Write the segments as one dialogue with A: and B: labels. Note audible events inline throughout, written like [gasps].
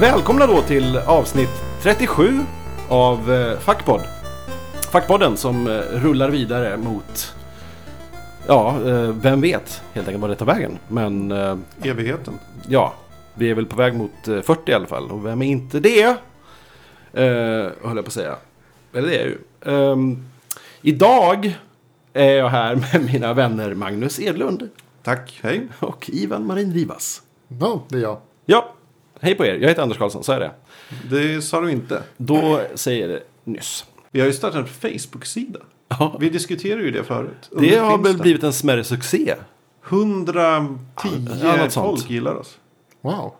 A: Välkomna då till avsnitt 37 av eh, Fackpodd. Fackpodden som eh, rullar vidare mot, ja, eh, vem vet helt enkelt vad det tar vägen. Men eh,
B: Evigheten.
A: ja, vi är väl på väg mot eh, 40 i alla fall. Och vem är inte det? Eh, höll jag på att säga. Eller det är jag ju. Ehm, idag är jag här [laughs] med mina vänner Magnus Edlund
B: Tack, hej.
A: och Ivan Marin Rivas.
C: Ja, det är jag.
A: Ja, hej på er. Jag heter Anders Karlsson, så är det.
B: Det sa du inte.
A: Då säger det nyss.
B: Vi har ju startat en Facebook-sida.
A: Ja,
B: Vi diskuterade ju det förut. Om
A: det har
B: finns
A: väl
B: där.
A: blivit en smärre succé.
B: 110
A: Ja, något sånt.
B: folk gillar oss.
C: Wow.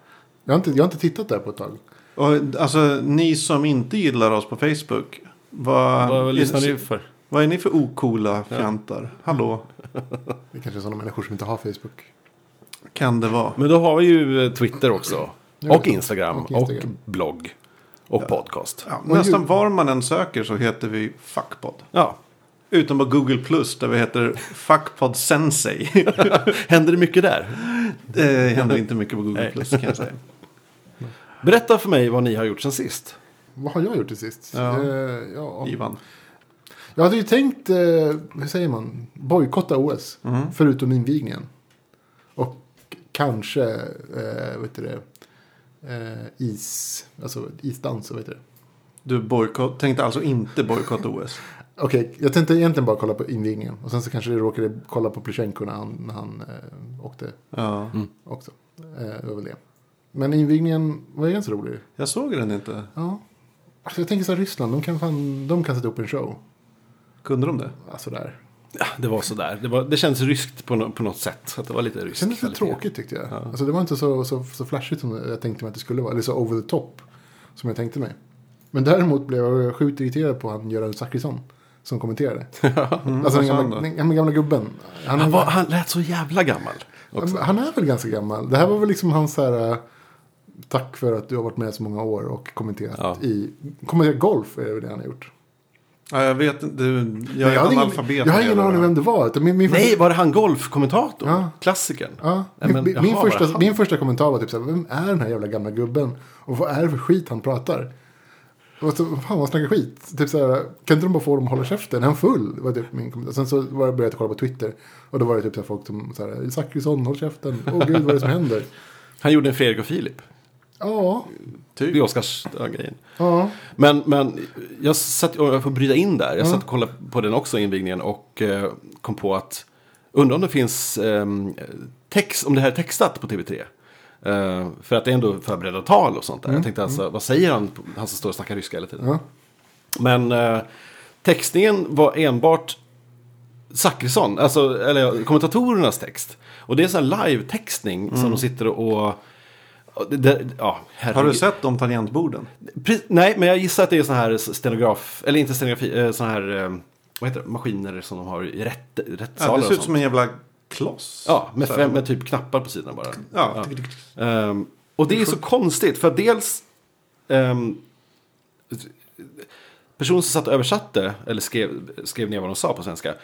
C: Jag har, inte, jag har inte tittat där på ett tag.
B: Och, alltså ni som inte gillar oss på Facebook. Vad,
A: för?
B: vad är ni för ocoola fjantar? Hallå,
C: Det kanske är sådana människor som inte har Facebook.
B: kan det vara?
A: Men då har vi ju eh, Twitter också.
C: Ja,
A: Och Instagram.
C: och
A: Och
C: Instagram.
A: blogg. Och podcast.
B: Ja,
C: Och
B: nästan
C: ju-
B: var man än söker så heter vi Fuckpod.
A: Ja. [laughs]
B: Utom på Google Plus där vi heter Fuckpod Sensei. [laughs]
A: Händer det mycket där?
B: det händer inte mycket på Google
A: Nej.
B: Plus
A: [laughs]
B: kan jag säga.
A: Berätta för mig vad ni har gjort sen sist.
C: Vad har jag gjort till sist?
B: Ja.
C: Eh, ja.
B: Ivan.
C: Jag hade ju tänkt, eh, hur säger man, bojkotta OS. Förutom invigningen. Och kanske, eh, vad heter det, eh, is, alltså isdans, vad heter det?
B: Du boykott, tänkte alltså inte bojkotta OS?
C: Okej, jag tänkte egentligen bara kolla på invigningen. Och sen så kanske jag råkade kolla på Plushenko när han, när han eh, åkte
B: Ja.
C: också. Eh, det var väl det. Men invigningen var ju ganska rolig.
B: Jag såg den inte.
C: Ja. Alltså jag tänker så här, Ryssland, de kan, fan, de kan sätta upp en show.
B: Kunde de det?
C: Alltså där.
A: Ja, det var sådär. Det, var, det kändes ryskt på, nå- på något sätt. Att det var lite ryskt.
C: Det kändes lite
A: kvalitet.
C: tråkigt tyckte jag. Alltså det var inte så, så, så flashigt som jag tänkte mig att det skulle vara. Eller så over the top. Som jag tänkte mig. Men däremot blev jag sjukt irriterad på han Göran Zachrisson.
B: [laughs]
C: Som kommenterade. alltså
B: Mm, vad
C: den
B: sa han
C: gamla,
B: då?
C: den gamla, gamla gubben. Han,
A: Han,
C: är-
A: var, han lät så jävla gammal.
C: han, han är väl ganska gammal. Det här var väl liksom hans så här. eh, Tack för att du har varit med så många år och kommenterat
A: Ja.
C: i... Kommenterat golf är väl det han har gjort.
B: Ja, jag vet inte. Du,
C: Men
B: jag är
C: hade ingen-
B: analfabet.
C: Jag har ingen aning vem det var. utan Min, min
A: Nej, var det han golfkommentatorn?
C: Ja.
A: Klassikern?
C: Ja,
A: Nej, men,
C: min, min,
A: jaha, var det
C: första,
A: han?
C: min första kommentar var typ så här, vem är den här jävla gamla gubben? Och vad är det för skit han pratar? Och så, fan vad han snackar skit. Typ så här, kan inte de bara få dem att hålla käften? Är han full? Var typ min kommentar. Sen så var jag började jag kolla på Twitter. Och då var det typ så här folk som så här, Zachrisson, håll käften. Åh gud, vad är det som händer?
A: [laughs] Han gjorde en Fredrik och Filip.
C: Ja,
A: Typ. I Oscars, ja, grejen.
C: ja.
A: Men, men jag satt, om jag får bryta in där. Jag
B: Mm.
A: satt och kollade på den också, invigningen, och eh, kom på att undrar om det finns ehm, text, om det här är textat på TV3. Eh, för att det är ändå förberedda tal och sånt
B: Mm.
A: där. Jag tänkte alltså, vad säger han, han som står och snackar ryska hela tiden?
C: Ja.
A: Men eh, textningen var enbart Zachrisson, alltså, eller ja, kommentatorernas text. Och det är sån här live-textning som de sitter och... och det, det, ja,
B: Mm. Har du
A: herregud.
B: sett de tangentborden?
A: Pre- nej, men jag gissar att det är sån här stenograf, eller inte stenografi, eh, sån här, eh, vad heter det, maskiner som de har i rätt,
B: Ja,
A: rättssalar
B: det ser
A: och
B: ut som
A: sånt.
B: en
C: alltså.
B: jävla kloss.
A: Ja, med,
B: Så
A: fem,
B: här.
A: med typ knappar på sidan bara.
B: Ja.
A: Ehm, och det är så konstigt, för dels... ehm, personen som satt och översatte, eller skrev, skrev ner vad de sa på svenska,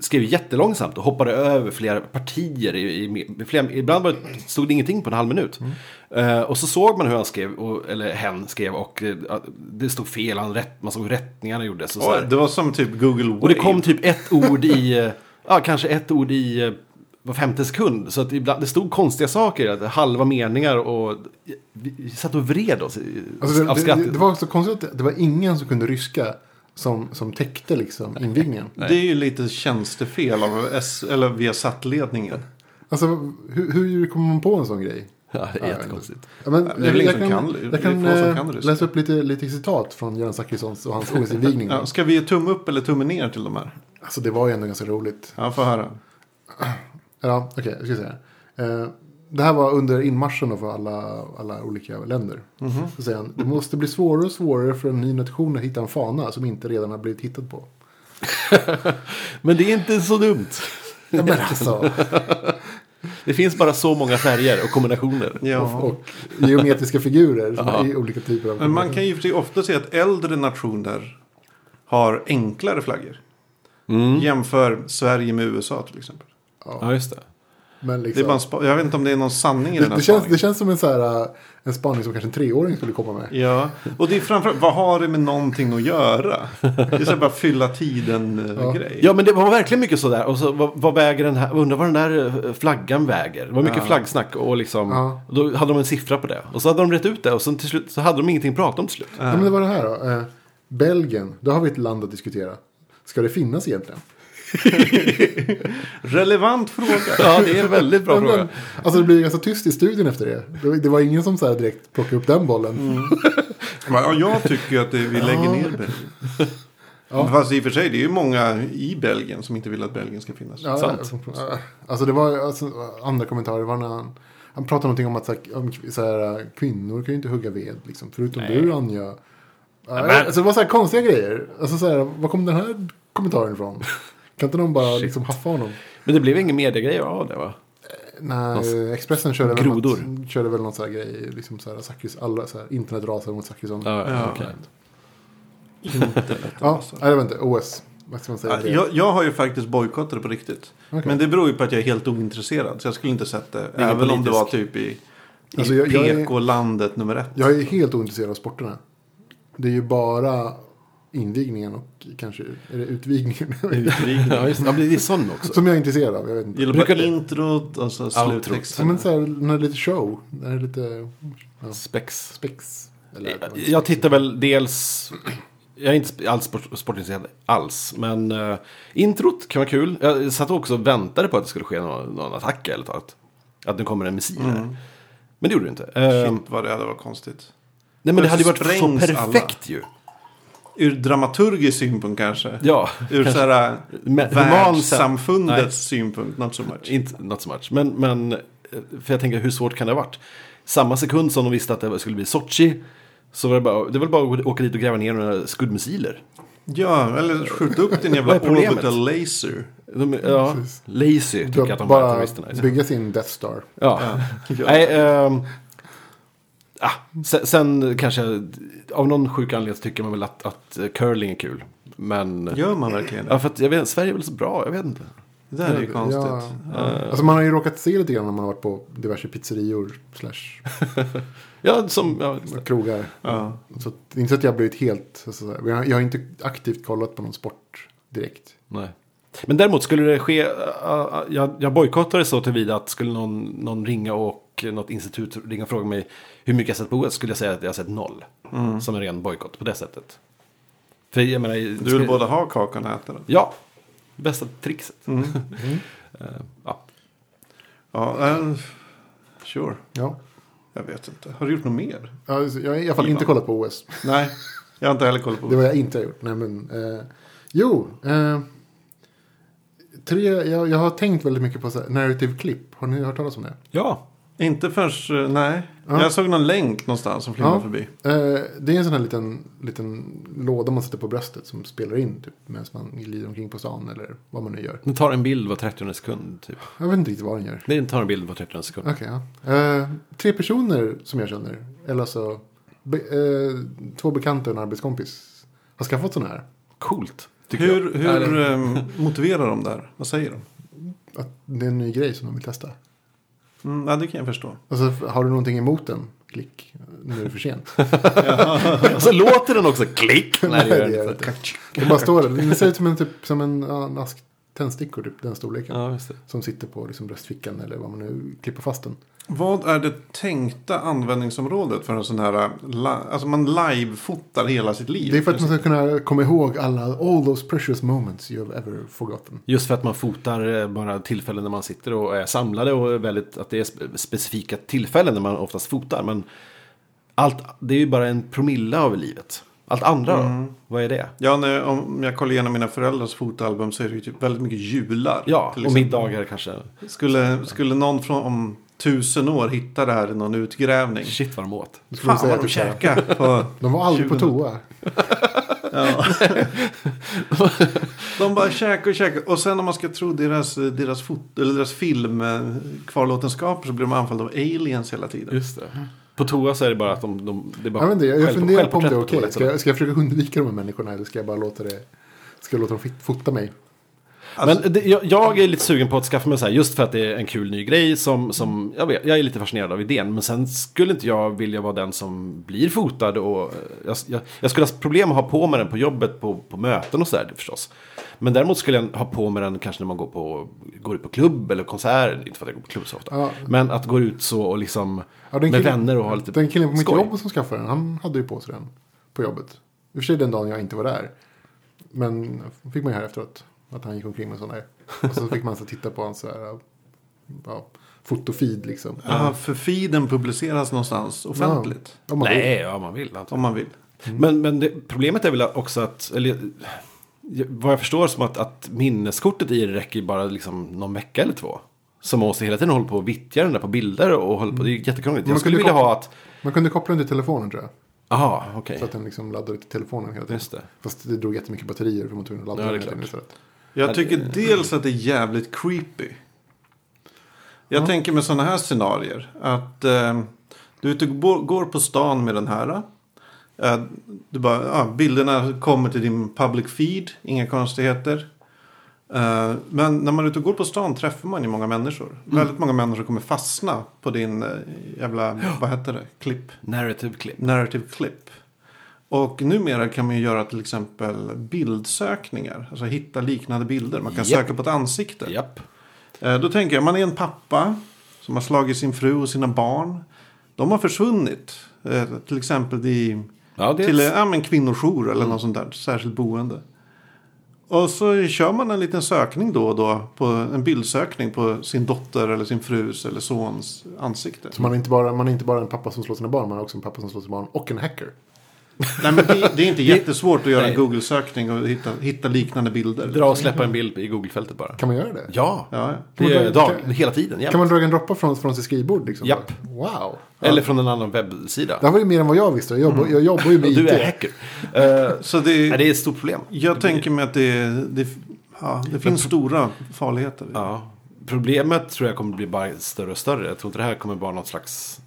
A: skrev jättelångsamt och hoppade över flera partier. I, i, i flera, ibland var det, stod det ingenting på en halv minut. Eh, och så såg man hur han skrev, och, eller hen skrev, och eh, det stod fel, han rätt, man såg hur rättningarna gjordes. Och, så
B: Oj,
A: här.
B: det var som typ Google Wave.
A: och det kom typ
C: [laughs]
A: ett ord i, eh, ja kanske ett ord i eh, var femte sekund. Så att ibland, det stod konstiga saker, att halva meningar och vi vi satt och vred oss i-
C: Alltså
A: av
C: det, det,
A: skratt.
C: det var så konstigt att det- det var ingen som kunde ryska som, som täckte liksom invigningen.
B: Det är ju lite tjänstefel av S, eller via sattledningen.
C: Alltså hur, hur kommer man på en sån grej?
A: Ja, det är
C: Ja,
A: jättekonstigt.
C: Ja, men,
B: Det är väl ingen som kan- det liksom. är
C: jag kan
B: få som
C: eh,
B: kan ryska.
C: läsa upp lite, lite citat från Göran Zachrissons
B: [laughs]
C: och hans OS-invigning.
B: Ja, ska vi ge tumme upp eller tumme ner till de här?
C: Alltså det var ju ändå ganska roligt.
B: Ja, få höra.
C: Ja, okej, jag ska säga. Eh, det här var under inmarschen då för alla, alla olika länder.
B: Mhm.
C: Så säger han, det måste bli svårare och svårare för en ny nation att hitta en fana som inte redan har blivit hittad
B: [laughs]
C: på.
A: Men det är inte så dumt.
C: Ja, men alltså,
A: Det finns bara så många färger och kombinationer.
B: Ja.
C: och geometriska figurer som är i olika typer av...
B: Men man kan ju för sig ofta se att äldre nationer har
A: Mm.
B: enklare flaggor. Jämför Sverige med USA till exempel.
A: Ja, just det.
C: Men
B: Det
C: liksom,
B: är bara en spa- jag vet inte om det är någon sanning i
C: det,
B: den här
C: det, känns,
B: spaningen.
C: det känns som en, så här, äh, en spaning som kanske en treåring skulle komma med.
B: Ja, och det är framförallt, vad har det med någonting att göra? Det är så här bara fylla eh,
C: Ja.
B: tiden-grej.
A: Ja men det var verkligen mycket sådär. Och så, vad, vad väger den här? Undrar vad den där eh, flaggan väger. Det var mycket
B: Ja.
A: flaggsnack och liksom.
C: Ja.
A: och Då hade de en siffra på det. Och så hade de rätt ut det. Och sen till slut så hade de ingenting att prata om till slut.
C: Ja, men det var det här då. Eh, Belgien, då har vi ett land att diskutera. Ska det finnas egentligen?
B: [laughs] Relevant fråga.
A: Ja det är en väldigt bra
C: Ja, men,
A: fråga.
C: alltså det blir ganska tyst i studion efter det. Det var, det var ingen som så här direkt plockade upp den bollen.
A: Mm,
B: Ja, jag tycker ju att det, vi lägger ner Belgien. Fast i och för sig, det är ju många i Belgien som inte vill att Belgien ska finnas.
C: Ja,
A: Sant.
C: ja. Alltså det var alltså, andra kommentarer. Var när han, han pratade någonting om att så här, om, så här, kvinnor kan ju inte hugga ved. Liksom, förutom du Anja. Ja,
A: men-
C: Alltså, det var så här konstiga grejer. Alltså, så här, var kom den här
A: [laughs]
C: kommentaren ifrån? Kan inte någon bara liksom, haffa honom?
A: Men det blev ingen mediegrej av det va?
C: Nej, Expressen körde väl,
A: Grodor.
C: något, körde väl någon sån här grej. Liksom så här, Sackis, alla så här, internet rasar mot Zachrisson. Ja,
A: Ja,
B: Ja.
A: okej.
C: ja, nej, det var inte OS. Vad ska man säga?
B: Ja,
C: till det?
B: Jag, jag har ju faktiskt bojkottat det på riktigt.
C: Okej.
B: Men det beror ju på att jag är helt ointresserad. Så jag skulle inte sett det.
A: ingen
B: Även om det
A: politisk-
B: var typ i, i
C: Alltså, jag- jag är-
B: PK-landet nummer ett.
C: Jag är helt ointresserad av sporterna. Det är ju bara invigningen och kanske är det utvigningen
A: [laughs] Ja, just det. Ja, men det är sån också.
C: som jag är intresserad av. Jag vet inte.
B: Gillar
A: Brukar
B: bara
A: det-
B: introt och så
C: Ja, men
B: sluttexten.
C: så här, när det är lite show, när det är lite
A: Spex.
C: spex. Eller,
A: Jag, jag tittar väl dels... Jag är inte sp- alls sport, sportintresserad alls. Men eh, introt kan vara kul. Jag satt också och väntade på att det skulle ske någon, någon attack eller något. Att nu kommer en missil här. Men det gjorde det inte. Eh,
B: Mm. Shit vad det hade varit konstigt.
A: nej men det hade ju varit så
B: Sprängs
A: perfekt ju.
B: Ur dramaturgisk synpunkt kanske.
A: Ja.
B: Ur så här,
A: Men-
B: världssamfundets
A: Nej.
B: synpunkt. Not so much.
A: Inte, not so much. Men, men, eh, för jag tänker hur svårt kan det ha varit? Samma sekund som de visste att det skulle bli Sochi. Så var det bara, det var bara att åka dit och gräva ner några skuddmissiler.
B: Ja, eller skjuta upp din
A: Vad
B: jävla
A: är problemet?
B: orbital laser.
A: De, ja,
C: Precis.
A: lazy tycker jag att de var
C: Typ bara
A: terroristerna.
C: bygga sin Death Star.
A: [laughs] Ja.
B: Ja.
A: Nej, ehm, ah, sen, sen kanske, av någon sjuk anledning så tycker man väl att, att eh, curling är kul. Men, ja.
B: Gör man verkligen det?
A: för att jag vet inte, Sverige är väl så bra, jag vet inte.
B: Det där är ju konstigt.
C: Ja, Alltså man har ju råkat se lite grann när man har varit på diverse pizzerior slash
A: Ja, som, ja,
C: krogar.
B: Ja.
C: Så att, det är inte så att jag har blivit helt, så att säga. jag har- jag har inte aktivt kollat på någon sport direkt.
A: nej. Men däremot skulle det ske, eh, eh, jag, jag bojkottade så tillvida att skulle någon, någon ringa och eh, något institut ringa och fråga mig hur mycket jag sett på OS skulle jag säga att jag har sett noll. Som en ren bojkott på det sättet. För jag menar,
B: Du vill både ha kakan och äta den.
A: Ja, Mm. bästa trixet. [laughs] Eh, ja.
B: Ja, eh, sure.
C: Ja.
B: Jag vet inte. Har du gjort något mer?
C: Ja, alltså, Jag har i alla fall inte kollat på OS.
B: Nej, jag har inte heller koll på
C: Det
B: det.
C: var jag inte har gjort. Nej, men, eh, jo, eh, tre, jag, jag har tänkt väldigt mycket på så här, narrative clip. Har ni hört talas om det?
A: Ja,
B: Inte förrän, eh, nej.
C: Ja.
B: Jag såg någon länk någonstans som flimrade
C: Ja.
B: förbi.
C: Eh, det är en sån här liten, liten låda man sätter på bröstet som spelar in typ, medan man glider omkring på stan eller vad man nu gör.
A: den tar en bild var 30 sekund. Typ.
C: Jag vet inte riktigt vad den gör.
A: Nej, den tar en bild var 30 sekund.
C: Okej, ja. eh, tre personer som jag känner, eller alltså be, eh, två bekanta och en arbetskompis, har skaffat sådana här.
A: Coolt. tycker jag.
B: Hur, hur ehm, motiverar de där? Vad säger de?
C: Att det är en ny grej som de vill testa.
B: Mm, ja, det kan jag förstå.
C: Alltså, f- har du någonting emot den? Klick, nu är det för sent.
A: Och så låter den också klick. Nej, det gör
C: gör
A: den
C: det
A: inte.
C: Det bara står där. Den ser ut som en, typ, som en, ja, en ask tändstickor, typ, den storleken.
A: Ja, just det.
C: Som sitter på liksom, bröstfickan eller vad man nu klipper fast den.
B: Vad är det tänkta användningsområdet för en sån här... eh, La- alltså man live-fotar hela sitt liv.
C: Det är för att man ska kunna komma ihåg alla all those precious moments you have ever forgotten.
A: Just för att man fotar eh, bara tillfällen när man sitter och är samlade och är väldigt, att det är spe- specifika tillfällen när man oftast fotar. Men allt, det är ju bara en promille av livet. Allt andra då? Vad är det?
B: Ja, när, om jag kollar igenom mina föräldrars fotoalbum så är det ju typ väldigt mycket jular.
A: Ja,
B: till
A: och
B: exempel.
A: middagar kanske.
B: Skulle, skulle någon från om tusen år hitta det här i någon utgrävning?
A: Shit vad de åt.
C: Då skulle
B: Fan
C: man säga
B: vad
C: att
B: de
C: det-
B: käkade på...
C: De var aldrig på
B: 2000.
C: toa.
B: De bara käkade och käkade. Och sen om man ska tro deras, deras, fot, eller deras film eh, kvarlåtenskaper så blir de anfallna av aliens hela tiden.
A: Just det. Typ. På toa så är det bara att de... de det är bara
C: Jag, vet inte, jag, jag
A: själv-
C: funderar på om det
A: självporträtt
C: är
A: på
C: okej.
A: toaletten.
C: Ska, jag- ska jag försöka undvika de här människorna eller ska jag bara låta det... Ska jag låta dem fit- fota mig?
A: Men det, jag, jag är lite sugen på att skaffa mig så här just för att det är en kul ny grej som, som jag, vet, jag är lite fascinerad av idén. Men sen skulle inte jag vilja vara den som blir fotad och eh, jag, jag, jag skulle ha problem att ha på mig den på jobbet, på, på möten och sådär förstås. Men däremot skulle jag ha på mig den kanske när man går, på, går ut på klubb eller konsert. Inte för att jag går på klubb så ofta.
C: Ja.
A: Men att gå ut så och liksom
C: Ja, den
A: med
C: killen-
A: vänner och ha lite
C: Den killen på mitt
A: skoj.
C: jobb som skaffade den, han hade ju på sig den på jobbet. I och för sig den dagen jag inte var där. Men fick man ju här efteråt. Att han gick omkring med sån där. Och så fick man så titta på hans så här, ja, fotofeed liksom.
B: Ja, för feeden publiceras någonstans offentligt.
C: Om man vill.
A: Nej, om man vill. antar jag.
B: Om man vill.
A: Men, men det, problemet är väl också att, eller vad jag förstår som att, att minneskortet i det räcker ju bara liksom någon vecka eller två. Som måste hela tiden hålla på och vittja den där på bilder och hålla på. Det är ju jättekrångligt.
C: Men man
A: Jag skulle
C: kunde
A: vilja ha
C: koppla-
A: att,
C: Man kunde koppla den till telefonen tror jag.
A: aha, okej.
C: Så att den liksom laddade till telefonen hela tiden.
A: Just det.
C: Fast det drog jättemycket batterier för man var tvungen att ladda
A: Ja, det är
C: den hela
A: klart.
C: tiden istället.
B: Jag tycker dels att det är jävligt creepy. Jag tänker med sådana här scenarier. Att eh, du är ute och går- går på stan med den här. Eh, du bara, ja, bilderna kommer till din public feed, inga konstigheter. Eh, men när man är ute och går på stan träffar man ju många människor. Väldigt många människor kommer fastna på din eh, jävla, vad heter det, klipp
A: Narrative clip.
B: narrative clip. Och numera kan man ju göra till exempel bildsökningar. Alltså hitta liknande bilder. Man kan
A: Japp.
B: söka på ett ansikte.
A: Japp.
B: Eh, Då tänker jag, man är en pappa som har slagit sin fru och sina barn. De har försvunnit. Eh, Till exempel i
A: Ja, det är
B: till eh, ja, men kvinnojour eller något sånt där särskilt boende. Och så kör man en liten sökning då och då. På en bildsökning på sin dotter eller sin frus eller sons ansikte.
C: Så man är, inte bara, man är inte bara en pappa som slår sina barn, man är också en pappa som slår sina barn och en hacker.
B: Nej, men det, det är inte jättesvårt att göra en
A: Nej.
B: Google-sökning och hitta, hitta liknande bilder.
A: dra och släppa en bild i Google-fältet bara.
C: Kan man göra det?
A: Ja,
B: Ja,
A: det är
C: Kan-
A: dag, hela tiden. Japp.
C: Kan man dra en droppe från, från sitt skrivbord liksom?
A: Japp.
C: Wow.
A: Eller från en annan webbsida.
C: Det här var ju mer än vad jag visste. Jag jobbar, jag jobbar
A: [laughs]
C: ju med
A: Mm. Du är
C: IT.
A: hacker. Eh,
B: så det,
A: nej, det är ett stort problem.
B: jag tänker mig att det, det, ja, det finns stora farligheter.
A: Ja. Problemet tror jag kommer bli bara större och större. Jag tror inte det här kommer vara något slags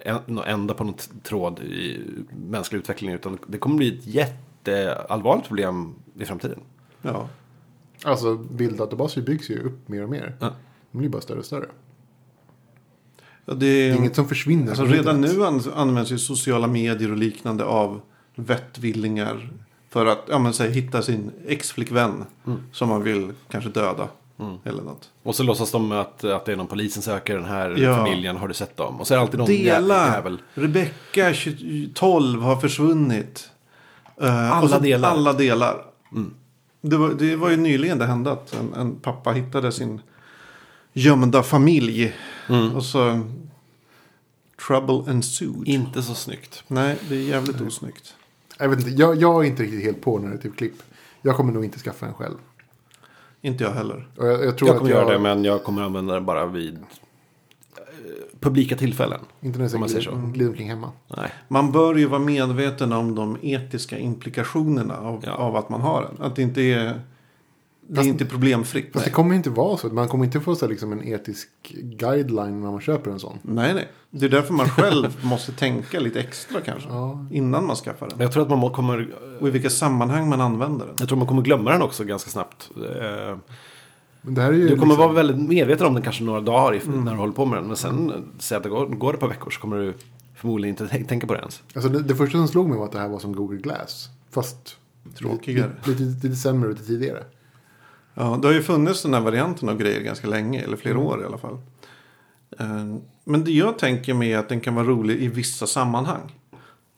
A: en- nå- ända på någon t- tråd i mänsklig utveckling. Utan det kommer bli ett jätteallvarligt problem i framtiden.
B: Ja.
C: Alltså bilddatabaser byggs ju upp mer och mer.
A: Ja.
C: De blir bara större och större.
B: Ja, det,
C: Det är inget som försvinner.
B: alltså, redan nu an- används ju sociala medier och liknande av vettvillingar. För att ja, men, säg, hitta sin ex-flickvän
A: Mm.
B: som man vill kanske döda. Eller något.
A: Och så låtsas de att, att det är någon polisen söker den här
B: Ja.
A: familjen. Har du sett dem? Och så är det alltid någon jä-
B: Dela!
A: jävel.
B: Rebecka 20 12 har försvunnit. Eh,
A: Alla
B: och så-
A: delar.
B: Alla delar. Mm. Det, var, det var ju nyligen det hände att en, en pappa hittade sin gömda familj.
A: Mm.
B: Och så... Trouble ensued.
A: Inte så snyggt.
B: Nej, det är jävligt osnyggt.
C: Jag, vet inte, jag, jag är inte riktigt helt på när det är typ klipp. Jag kommer nog inte skaffa en själv.
B: Inte jag heller.
C: Och jag, jag tror
A: Jag kommer
C: att jag,
A: göra det men jag kommer använda det bara vid eh, publika tillfällen.
C: Inte när
A: om man
C: jag
A: säger
C: glider- glider omkring hemma.
A: Nej.
B: Man bör ju vara medveten om de etiska implikationerna av,
A: Ja.
B: av att man har den. Att det inte är... Det
C: Fast-
B: är inte problemfritt.
C: Fast det
B: Nej.
C: kommer ju inte vara så. Man kommer inte få så här, liksom, en etisk guideline när man köper en sån.
B: nej, nej. Det är därför man själv [laughs] måste tänka lite extra kanske.
C: Ja.
B: Innan man skaffar den.
A: Jag tror att man må- kommer
B: Och i vilka sammanhang man använder den.
A: Jag tror man kommer glömma den också ganska snabbt. Eh,
C: Men det här är ju
A: Du kommer
C: liksom, Mm.
A: vara väldigt medveten om den kanske några dagar i- när du håller på med den. Men sen, eh, säg att det går, går ett par veckor så kommer du förmodligen inte tän- tänka på det ens.
C: alltså, det, det första som slog mig var att det här var som Google Glass. Fast
B: Tråkigare.
C: Lite, lite, lite sämre och lite tidigare.
B: Ja, det har ju funnits den här varianten av grejer ganska länge, eller flera
C: Mm.
B: år i alla fall. Eh, Men det jag tänker mig är att den kan vara rolig i vissa sammanhang.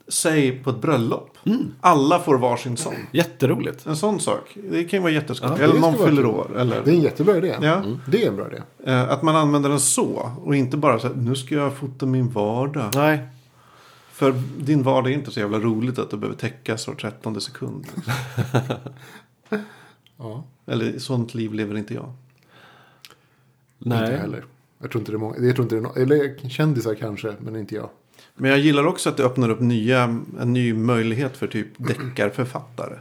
B: Säg på ett bröllop.
C: Mm.
B: Alla får varsin sån.
A: Jätteroligt.
B: En sån sak. Det kan ju vara jätteskoj.
C: det
B: eller någon
C: skulle vara
B: fyller
C: kul.
B: år.
C: Det är
B: Eller,
C: en jättebra idé. Mm.
B: Ja.
C: Det är en bra idé.
B: eh, att man använder den så. Och inte bara så här, nu ska jag fota min vardag.
A: Nej.
B: För din vardag är inte så jävla roligt att du behöver täckas var trettonde sekund.
C: Ja,
B: eller sånt liv lever inte jag.
C: Inte jag [laughs]
A: Nej.
C: heller. Jag tror inte det är många. Jag tror inte det är no- eller kändisar kanske, men inte jag.
B: Men jag gillar också att det öppnar upp nya, en ny möjlighet för typ deckarförfattare.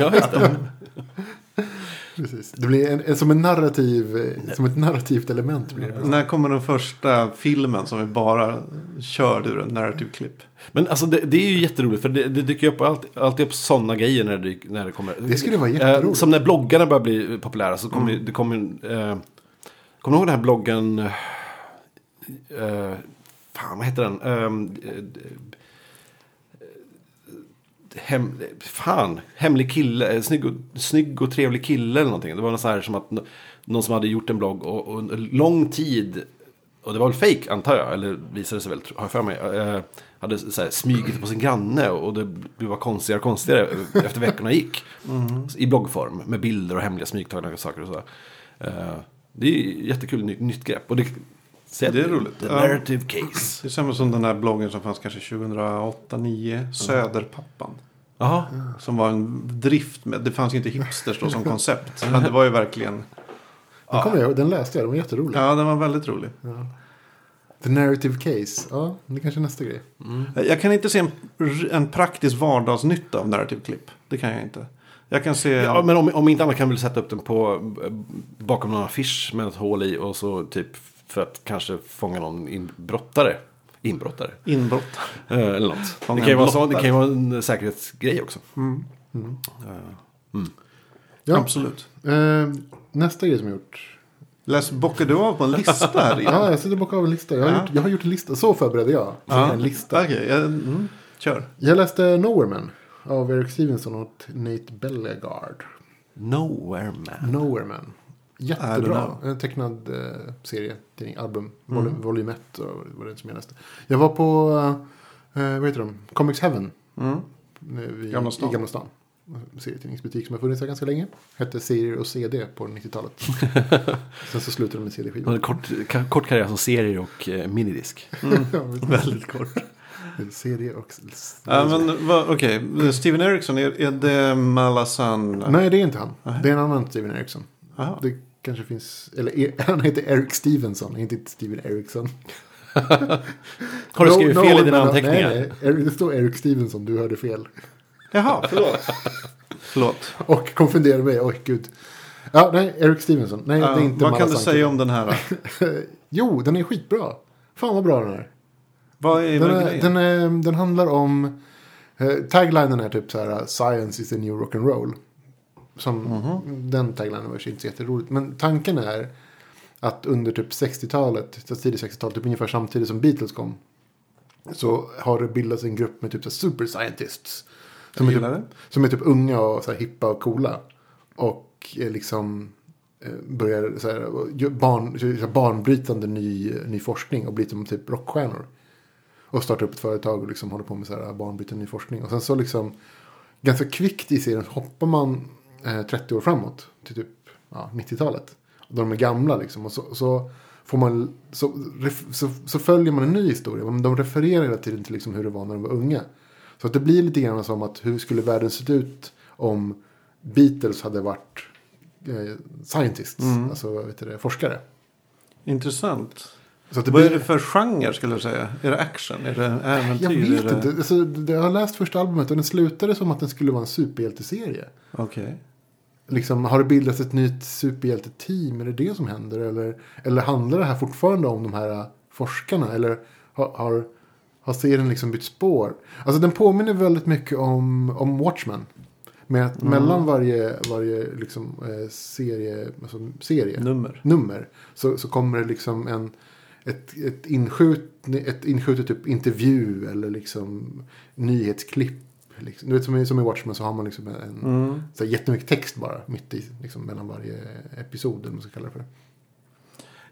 A: ja, just det.
C: Precis. Det blir en, en, som, en narrativ, eh, som ett narrativt element. Blir det.
B: När kommer den första filmen som vi bara körde ur en narrative clip?
A: Men alltså det, det är ju jätteroligt för det, det dyker ju upp alltid, alltid upp sådana grejer när det, dyk- när det kommer.
C: Det skulle vara jätteroligt. Mm.
A: Eh, som när bloggarna börjar bli populära så kommer ju- det kommer ju, eh, Kommer du ihåg den här bloggen? Eh, fan vad heter den? Eh, eh, hem, fan, hemlig kille, eh, snygg och, snygg och trevlig kille eller någonting. Det var något så här som att nå- någon som hade gjort en blogg och, och under lång tid, och det var väl fake antar jag, eller visade sig väl, tro- har jag för mig, eh, hade så här, smugit på sin granne och det blev bara konstigare och konstigare [laughs] efter veckorna gick.
B: Mm.
A: I bloggform, med bilder och hemliga smygtagna saker och så. Eh, det är ju jättekul, ny, nytt grepp. Och det,
B: Det är roligt.
A: The
B: Ja.
A: narrative case.
B: Det är samma som den här bloggen som fanns kanske 2008-2009. Söderpappan.
A: Jaha.
B: Som var en drift med. Det fanns ju inte hipsters då som koncept. Men det var ju verkligen.
C: Den, kommer jag, ihåg, den läste jag, den var jätterolig.
B: Ja, den var väldigt rolig.
C: The narrative case. Ja, det kanske är nästa grej.
B: Jag kan inte se en, en praktisk vardagsnytta av narrative clip. Det kan jag inte. Jag kan se.
A: Ja, men om, om inte annat kan vi väl sätta upp den på eh, bakom någon affisch med ett hål i och så typ för att kanske fånga någon inbrottare. Inbrottare.
B: Inbrott.
A: Eh, Eller något. Det
B: Fånga
A: kan, ju vara
B: en
A: så, det
B: blottare.
A: kan ju vara en eh, säkerhetsgrej också.
C: Ja.
B: Absolut.
C: Eh, nästa grej som jag gjort.
B: Läs, bockar du av på en lista här igen?
C: Ja, jag sitter bakom av en lista. Jag har, gjort, jag har gjort en lista. Så förberedde jag.
B: Ja.
C: En lista.
B: Okej, jag- mm, kör.
C: Jag läste Nowhereman av Eric Stevenson och Nate Bellegarde.
A: Nowhere man.
C: Nowhereman.
B: I don't
C: Jättebra.
B: know.
C: En tecknad eh, serie, tidning, album,
B: Mm.
C: vol volym 1 och vad det är som jag läste. Jag var på, eh, vad heter de, Comics Heaven.
B: Mm.
C: Eh, vid-
B: Gamla stan.
C: I Gamla stan. En Serietidningsbutik som har funnits här ganska länge. Hette serier och CD på
B: [laughs]
C: 90-talet. Sen så slutade de med
A: Han hade
C: CD-skivor.
A: en kort, ka- kort karriär som serier och eh, minidisk.
B: Mm.
C: [laughs]
B: Väldigt kort.
C: CD och...
B: Ja, men vad- okej. Steven Eriksson, är, är det Malasan?
C: Nej, det är inte han. Det är en annan Steven Erickson.
B: Aha.
C: Det kanske finns, eller er, [laughs] han heter Eric Stevenson, inte Steven Erickson.
A: Har du
C: No-
A: skrivit
C: no
A: fel i
C: one-
A: dina
C: no-
A: anteckningar?
C: Nej, nej, Eric- det står Eric Stevenson, du hörde fel.
B: Jaha, förlåt. förlåt.
C: Och konfunderade mig, oj gud. Ja, nej, Eric Stevenson. Nej, det är
B: Eh,
C: inte
B: vad kan du
C: Malasanti.
B: säga om den här?
C: Jo, den är skitbra. Fan vad bra den är.
B: Vad är
C: Den,
B: vad är
C: är,
B: grejen?
C: den, är, den handlar om... Eh, taglinen är typ så här, Science is the new rock and roll. Som,
B: Mhm.
C: Den taglinen var ju inte så jätteroligt. Men tanken är att under typ 60-talet, så tidigt 60-tal, typ ungefär samtidigt som Beatles kom. Så har det bildats en grupp med typ så här, super scientists. Som är
B: Jag
C: typ,
B: gillar det.
C: som är typ unga och så här, hippa och coola. Och eh, liksom eh, börjar så här, och gör barn, så här, barnbrytande ny, ny forskning och blir som typ rockstjärnor. Och startar upp ett företag och liksom håller på med så här barnbyte, ny forskning. Och sen så liksom ganska kvickt i serien så hoppar man eh, 30 år framåt till typ ja, 90-talet. Och de är gamla liksom. Och så, så, får man, så, ref- så, så följer man en ny historia. Men de refererar hela tiden till liksom hur det var när de var unga. Så att det blir lite grann som att hur skulle världen sett ut om Beatles hade varit eh, scientists.
B: Mm.
C: Alltså vad heter det, forskare.
B: Intressant.
C: Så att
B: Vad är det för genre skulle du säga? Är det action? Är det äventyr?
C: Jag
B: är
C: vet
B: det...
C: inte. Alltså, det- jag har läst första albumet och den slutade som att den skulle vara en superhjälteserie.
B: Okej.
C: Liksom, har det bildats ett nytt superhjälteteam? Är det det som händer? Eller, eller handlar det här fortfarande om de här äh, forskarna? Eller har, har, har serien liksom bytt spår? Alltså den påminner väldigt mycket om, om Watchmen. Med att mellan varje, varje liksom, eh, serie, alltså, serie
B: Nummer.
C: nummer så, så kommer det liksom en, ett, ett, inskjut, ett inskjutet typ intervju eller liksom nyhetsklipp. Liksom. Du vet, som, i, som i Watchmen så har man liksom en,
B: Mm.
C: så här, jättemycket text bara mitt i liksom, mellan varje episod. Eller vad man ska kalla det för.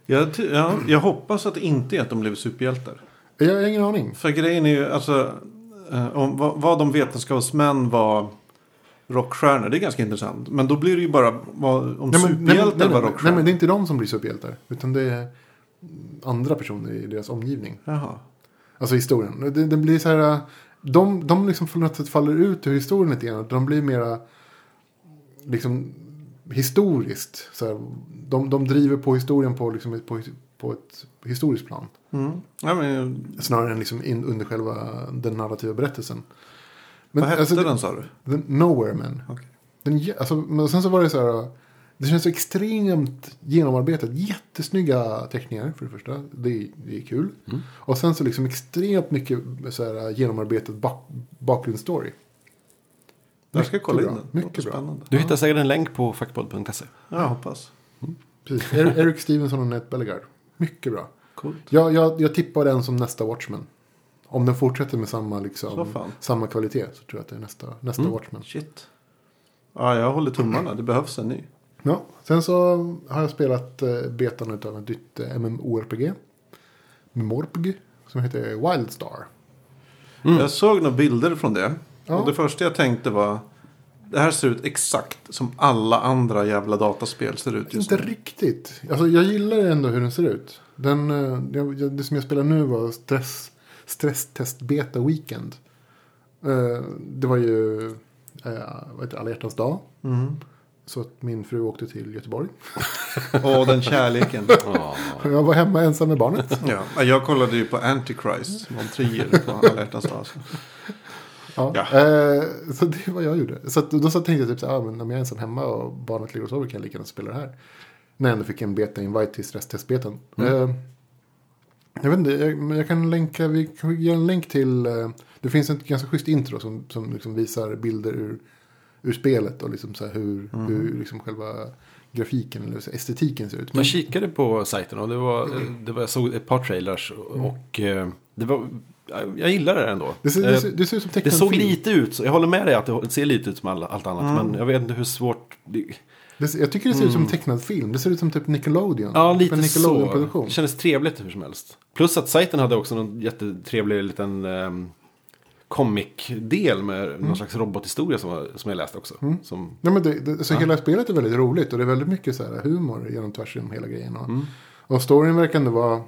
B: Jag, ty- ja, jag hoppas att det inte är att de blev superhjältar.
C: Jag har ingen aning.
B: För grejen är ju alltså. eh, Om, vad, vad de vetenskapsmän var rockstjärnor. Det är ganska intressant. Men då blir det ju bara vad, om
C: Nej, men- nej, men-
B: superhjältar
C: nej,
B: var
C: nej, nej,
B: rockstjärnor.
C: men det är inte de som blir superhjältar. Utan det är andra personer i deras omgivning.
B: Jaha.
C: Alltså historien. Det, det blir så här. äh, De, de liksom på något sätt faller ut ur historien lite grann. De blir mera liksom historiskt. Så här, de, de driver på historien på, liksom, ett- på, på ett historiskt plan.
B: Mm. Ja, men,
C: Snarare än liksom in, under själva den narrativa berättelsen. Men,
B: vad hette
C: alltså,
B: den sa du?
C: The Nowhere Man.
B: Okej.
C: Den, ge- alltså, men sen så var det så här. Det känns så extremt genomarbetat. Jättesnygga teckningar för det första. Det, det är kul.
B: Mm.
C: Och sen så liksom extremt mycket äh, så här, genomarbetat bak, bakgrundsstory.
B: Där ska jag kolla in den.
C: Mycket bra,
B: Mycket
C: mycket bra.
B: spännande.
A: Du hittar säkert en länk på fackpodd.se.
B: Ja, jag hoppas.
C: Precis. [laughs] Er- Eric Stevenson och Ned Bellegarde. Mycket bra.
B: Coolt.
C: Jag, jag, jag tippar den som nästa Watchmen. Om den fortsätter med samma,
B: Så
C: liksom,
B: fan. Mm.
C: samma kvalitet så tror jag att det är nästa, nästa Watchmen.
B: Shit. Ja, jag håller tummarna. Det behövs en ny.
C: Ja, sen så har jag spelat eh, betan utav ett nytt eh, MMORPG. MMORPG. Som heter Wildstar.
B: Jag såg några bilder från det.
C: Mm. Ja.
B: Och det första jag tänkte var. Det här ser ut exakt som alla andra jävla dataspel ser ut just
C: Inte
B: nu.
C: riktigt. Alltså, jag gillar ändå hur den ser ut. Den, eh, jag, jag, det som jag spelar nu var stress, stresstest beta weekend. Eh, det var ju eh, vad heter det, alla hjärtans dag. Så att min fru åkte till Göteborg.
B: Åh, den
C: [laughs]
B: kärleken.
C: Jag var hemma ensam med barnet.
B: Ja, jag kollade ju på Antichrist. som var en trier på Alla hjärtans dag. alltså.
C: Ja.
B: Ja.
C: Eh, så det var jag gjorde. Så att, då så tänkte jag typ så här, ah, men om jag är ensam hemma och barnet ligger och sover kan jag lika gärna spela det här. När jag ändå fick en beta-invite till stresstestbetan.
A: Mm.
C: Eh, jag vet inte, jag, men jag kan länka, vi kan ge en länk till, eh, det finns ett ganska schysst intro som, som liksom visar bilder ur, ur spelet och liksom så här hur,
A: Mm.
C: hur liksom själva grafiken eller så här estetiken ser ut. Men,
A: Jag kikade på sajten och det var, det var, jag såg ett par trailers och eh, det var, jag- jag gillar det ändå.
C: Mm. det, ser,
A: Eh,
C: det, ser, det ser ut som
A: Det
C: tecknad
A: såg
C: film.
A: lite ut, så jag håller med dig att det ser lite ut som all, allt annat.
C: Mm.
A: Men jag vet inte hur svårt... Det,
C: Det, ser- jag tycker det ser ut som tecknad film. Det ser ut som typ Nickelodeon.
A: Mm. ja,
C: Typ en
A: lite så.
C: Nickelodeon-produktion.
A: Det kändes trevligt hur som helst. Plus att sajten hade också någon jättetrevlig liten um, comic-del med
C: Mm.
A: någon slags robothistoria som, var- som jag läste också. Som,
C: Nej, men det, det, så Hela spelet är väldigt roligt och det är väldigt mycket så här humor genom tvärs genom hela grejen. Och, och storyn verkar ändå vara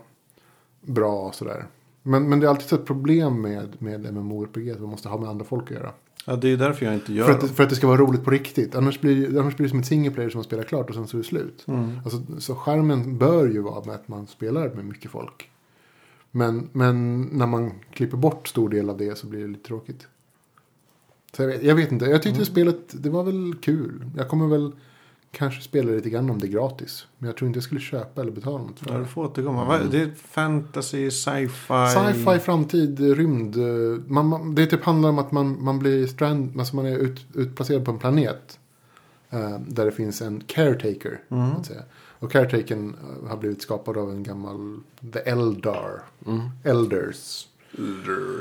C: bra och sådär. Men, men det är alltid så ett problem med, med MMORPG att man måste ha med andra folk att göra.
B: Ja, det är ju därför jag inte gör
C: För att, det-
B: dem.
C: för att det ska vara roligt på riktigt. Annars blir, annars blir det som ett single player som man spelar klart och sen så är det slut.
B: Mm.
C: Alltså, så skärmen bör ju vara med att man spelar med mycket folk. Men, men när man klipper bort stor del av det så blir det lite tråkigt. Så jag, vet, jag vet inte, jag tyckte spelet det var väl kul. Jag kommer väl kanske spela lite grann om det är gratis. Men jag tror inte jag skulle köpa eller betala något för
B: Ja, du
C: det.
B: får återkomma. Vad- Det är fantasy, sci-fi.
C: Mm. Sci-fi, framtid, rymd. eh, Man, man, det typ handlar om att man, man blir strand, alltså man är ut, utplacerad på en planet. eh, där det finns en caretaker. så
B: Mm.
C: Att säga. Och caretakern eh, har blivit skapad av en gammal The Eldar. Elders.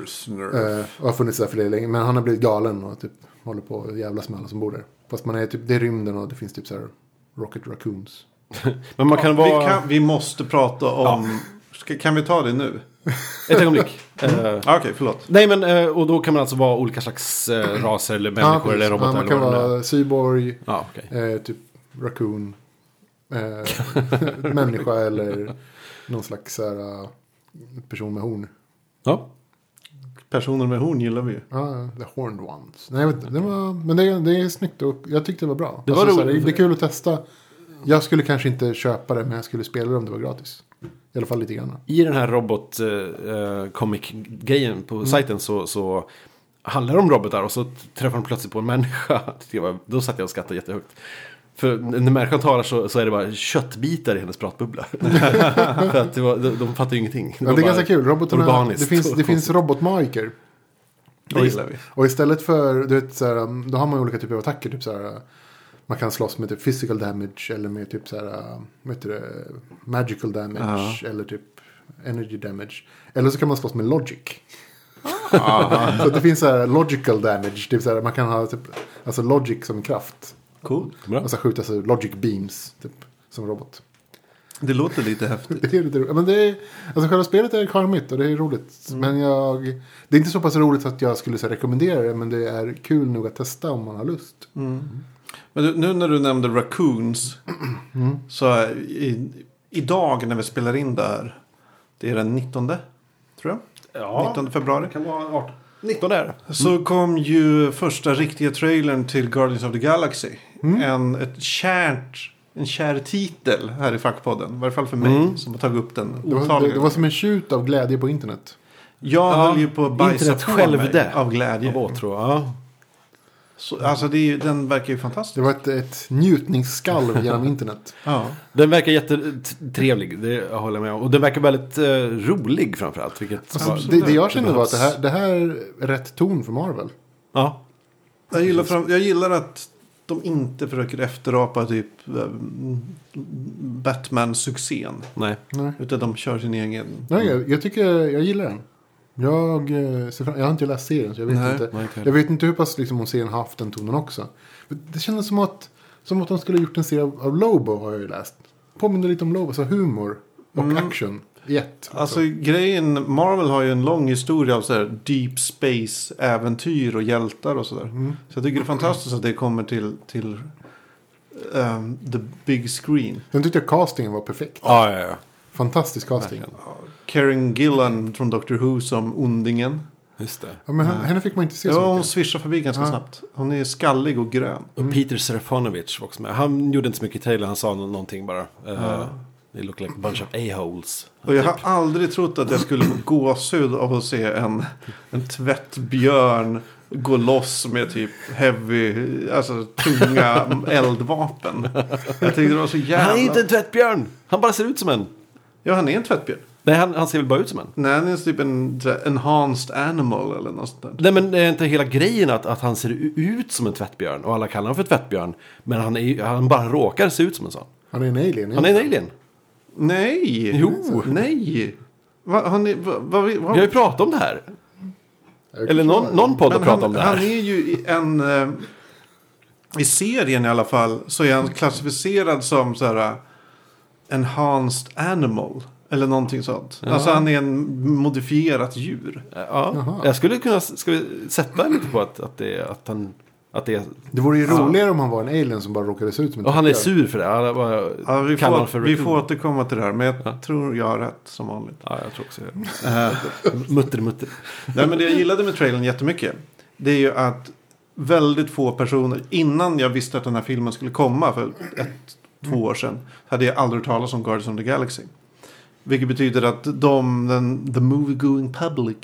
B: Snurf.
C: Eh, och har funnits där för det länge. Men han har blivit galen och typ håller på att jävlas med alla som bor där. Fast man är typ, det är rymden och det finns typ så här Rocket Raccoons.
A: men man kan
B: Vi,
A: vara...
B: kan, vi måste prata om... Ska, kan vi ta det nu?
A: Ett
C: [laughs]
A: ögonblick. Eh,
B: Ah, Okej, förlåt.
A: Nej men, eh, och då kan man alltså vara olika slags eh, raser eller människor
C: precis.
A: eller robotar.
C: Ja, man
A: eller
C: kan
A: vad det nu är.
C: vara cyborg.
A: Ja, okej.
C: Eh, typ raccoon.
A: [laughs]
C: Eh, människa eller någon slags så här, eh, person med horn.
A: Ja.
B: Personer med horn gillar vi ju.
C: Ja, the horned ones. Nej, jag vet inte. Det var, men det, det är snyggt och jag tyckte det var bra.
A: Det
C: Det,
A: var
C: alltså, så här,
A: roligt.
C: det är kul att testa. Jag skulle kanske inte köpa det men jag skulle spela det om det var gratis. I alla fall lite grann.
A: I den här robot eh, eh, comic grejen
C: Mm.
A: på sajten så, så handlar det om robotar och så träffar de plötsligt på en människa. [laughs] Det var- Då satt jag och skrattade jättehögt. För när människan talar så, så är det bara köttbitar i hennes pratbubbla. [laughs] För att det var, de, de fattar ju ingenting.
C: Ja,
A: var
C: det är
A: bara
C: ganska kul. Robotarna,
A: Urbaniskt.
C: det finns,
A: [laughs]
C: det
A: och
C: finns robotmariker.
B: Det
C: Och
B: gillar vi.
C: Och istället för, du vet, så här, um, då har man olika typer av attacker. Typ så här, man kan slåss med typ physical damage eller med typ så här, vad heter det, magical damage eller typ energy damage. Eller så kan man slåss med logic. [laughs] så att det finns så här logical damage, typ så här, man kan ha typ, alltså logic som kraft.
B: Cool.
A: Bra.
C: Alltså skjuta så logic beams typ, som robot.
B: Det låter lite häftigt.
C: Det är lite roligt. Men det är, alltså själva spelet är charmigt och det är roligt. Men jag, det är inte så pass roligt att jag skulle så här, rekommendera det. Men det är kul nog att testa om man har lust.
B: Men du, nu när du nämnde
C: [clears throat]
B: Raccoons. Så är- i, idag när vi spelar in det här. Det är den 19. Tror jag.
A: Ja.
B: 19 februari.
A: kan vara 18. 19 är det.
C: Mm.
B: Så kom ju första riktiga trailern till Guardians of the Galaxy.
C: Mm.
B: En, ett kärt, en kär titel här i fackpodden. I varje fall för mig som har tagit upp den
C: Mm. Det
B: otaliga
C: var, det, det var
B: gånger.
C: som en tjut av glädje på internet.
B: Jag
A: Ja,
B: höll ju på att bajsa
A: internet
B: på
A: självde.
B: mig av glädje.
A: Av åtrå, ja.
B: Så, alltså det är, ju- den verkar ju fantastisk.
C: Det var ett, ett njutningsskalv genom internet.
B: Ja.
A: Den verkar jättetrevlig, det håller jag med om. Och den verkar väldigt eh, rolig framförallt. Vilket
C: Alltså,
A: var,
C: det, det jag kände var att det
A: behövs.
C: här, det här är rätt ton för Marvel.
A: ja.
B: Jag, gillar fram, jag gillar att de inte försöker efterapa typ eh, Batman-succén.
A: Nej.
C: Nej.
B: Utan de kör sin egen.
C: Nej, jag, jag tycker jag gillar den. Jag, eh, ser fram, jag har inte läst serien så jag vet
B: Nej,
C: inte.
A: nej, inte heller.
C: jag vet inte hur pass liksom, om serien haft den tonen också. Men Det kändes som att, som att de skulle ha gjort en serie av, av Lobo har jag ju läst. Påminner lite om Lobo, så humor och
A: Mm.
C: action i ett. liksom.
B: Alltså grejen, Marvel har ju en lång historia av så här deep space äventyr och hjältar och sådär.
C: Mm.
B: Så jag tycker det är fantastiskt att det kommer till, till ehm, the big screen.
C: Sen tyckte jag castingen var perfekt.
A: Ja, ja, ja.
C: Fantastisk casting.
B: Karen Gillan från Doctor Who som ondingen.
A: Just det.
C: Ja, men henne, henne fick man inte se så
B: Ja, hon
C: mycket.
B: svischar förbi ganska snabbt. Hon är skallig och grön.
A: Och Peter Serafonovich var också med. Han gjorde inte så mycket i trailern, han sa nå- någonting bara. Uh, they look like a bunch of a-holes.
B: Och jag har aldrig trott att jag skulle få gåshud av att se en, en tvättbjörn gå loss med typ heavy, alltså tunga eldvapen. Jag tyckte det var så
A: Han är
B: jävla...
A: inte en tvättbjörn! Han bara ser ut som en.
B: Ja, han är en tvättbjörn.
A: Nej, han, han ser väl bara ut som en.
B: Nej, han är typ en så här, enhanced animal eller något sånt där.
A: Nej, men är inte hela grejen att, att han ser u- ut som en tvättbjörn? Och alla kallar honom för tvättbjörn. Men han, är, ju- han bara råkar se ut som en sån.
C: Han är en alien.
A: Han är en alien.
B: Nej!
A: Jo.
B: Nej! Va, han är, va, va, va,
A: Vi har ju pratat om det här.
C: Jag-
A: Eller någon, någon podd har
B: Men
A: pratat
B: han,
A: om det
B: han
A: här.
B: är ju i en... eh, I serien i alla fall så är han klassificerad som så här... eh, Enhanced animal. Eller någonting sånt. Alltså han är en modifierat djur.
A: Ja, jag skulle kunna, ska vi sätta lite på att, att, det, är- att, han, att det är...
C: Det vore ju roligare om han var en alien som bara råkade se ut som en
A: Och han är
C: tvättbjörn.
A: sur för det. Han bara
B: Ja, vi,
A: kallar honom för
B: får, vi
A: raccoon.
B: får återkomma till det här. Men jag tror jag har rätt som vanligt.
A: Ja, jag tror också det. [laughs] mutter, mutter.
B: Nej, men det jag gillade med trailern jättemycket. Det är ju att väldigt få personer, innan jag visste att den här filmen skulle komma för ett, två år sedan, hade jag aldrig hört talas om Guardians of the Galaxy. Vilket betyder att de, den, the movie going public,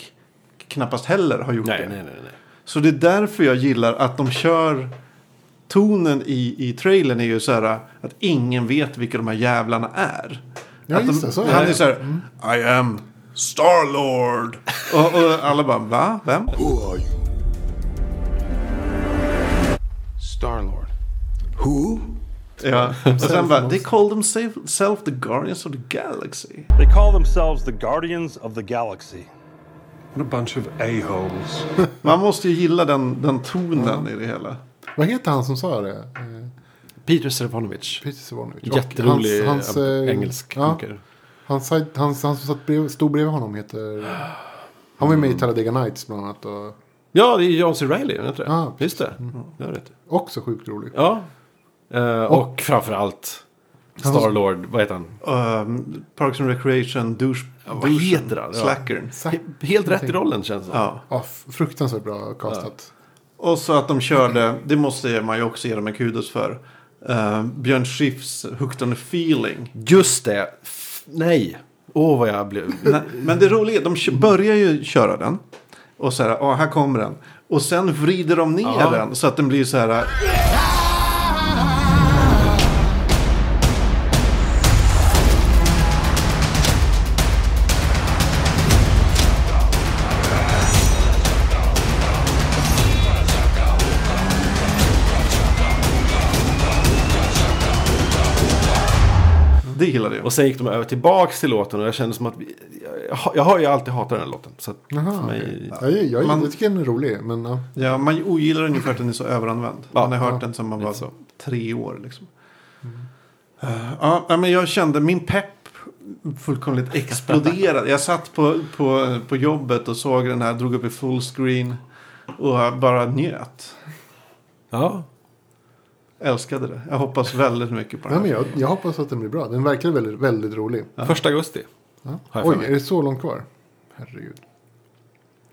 B: knappast heller har gjort
A: Nej,
B: det.
A: nej, nej. nej.
B: Så det är därför jag gillar att de kör tonen i, i trailern är ju så här att ingen vet vilka de här jävlarna är.
C: Ja,
B: att de,
C: just det, så är
B: han
C: det. Mm.
B: är så här, I am Starlord. och, och alla bara, va? Vem?
D: Star Lord. Who?
C: [laughs]
B: Ja. Och sen bara, they call themselves the Guardians of the Galaxy.
E: They call themselves the Guardians of the Galaxy.
D: What a bunch of a-holes.
B: Man måste ju gilla den, den tonen i det hela.
C: Vad heter han som sa det? Eh,
A: Peter Serafonovich.
C: Peter Savanovich.
A: Jätterolig
C: eh,
A: engelsk
C: ja,
A: komiker.
C: han, sa- han, han som satt brev, stod bredvid honom heter... Han var ju med
A: Mm.
C: i Talladega Nights bland annat. Och
A: Ja, det är John C. Reilly, är det inte det?
C: Ja,
A: Just det. Det har rätt.
C: också sjukt rolig.
A: Ja. Eh, och, framförallt Starlord, vad heter han?
B: Um, Parks and Recreation, douche,
A: vad
B: douchen,
A: heter han? Ja.
B: slackern.
C: Sack,
A: He- Helt rätt i rollen känns det som.
B: Ja.
C: ja, f- fruktansvärt bra castat.
B: Och så att de körde, det måste man ju också ge dem en kudos för. eh, Björn Schiffs Hooked on a feeling.
A: Just det. F- nej. Åh, vad jag blev...
B: Nej, Men det roliga är, de kö- börjar ju köra den. Och så här, ja här kommer den. Och sen vrider de ner
A: Ja.
B: den så att den blir så här. Det gillade jag.
A: Och sen gick de över tillbaks till låten och jag kände som att... Vi, jag, jag har ju alltid hatat den här låten. Så att för mig...
C: Ja, jag, jag,
B: Man-
C: jag tycker den är rolig, men ja.
B: Ja, man ogillar den ju för att den är så överanvänd.
A: Ja,
B: man har hört
C: ja,
B: den sedan man var
A: lite så. Mm.
B: tre år. Liksom. Eh, ja, nej, men jag kände min pepp fullkomligt exploderade. jag satt på, på, på jobbet och såg den här, drog upp i full screen och bara njöt.
A: Ja.
B: Älskade det. Jag hoppas väldigt mycket på det.
C: Nej, men
B: här.
C: jag, jag hoppas att den blir bra. Den verkar väldigt, väldigt rolig.
A: Första augusti.
C: Ja.
A: Har jag för
C: Oj,
A: mig.
C: är det så långt kvar? Herregud.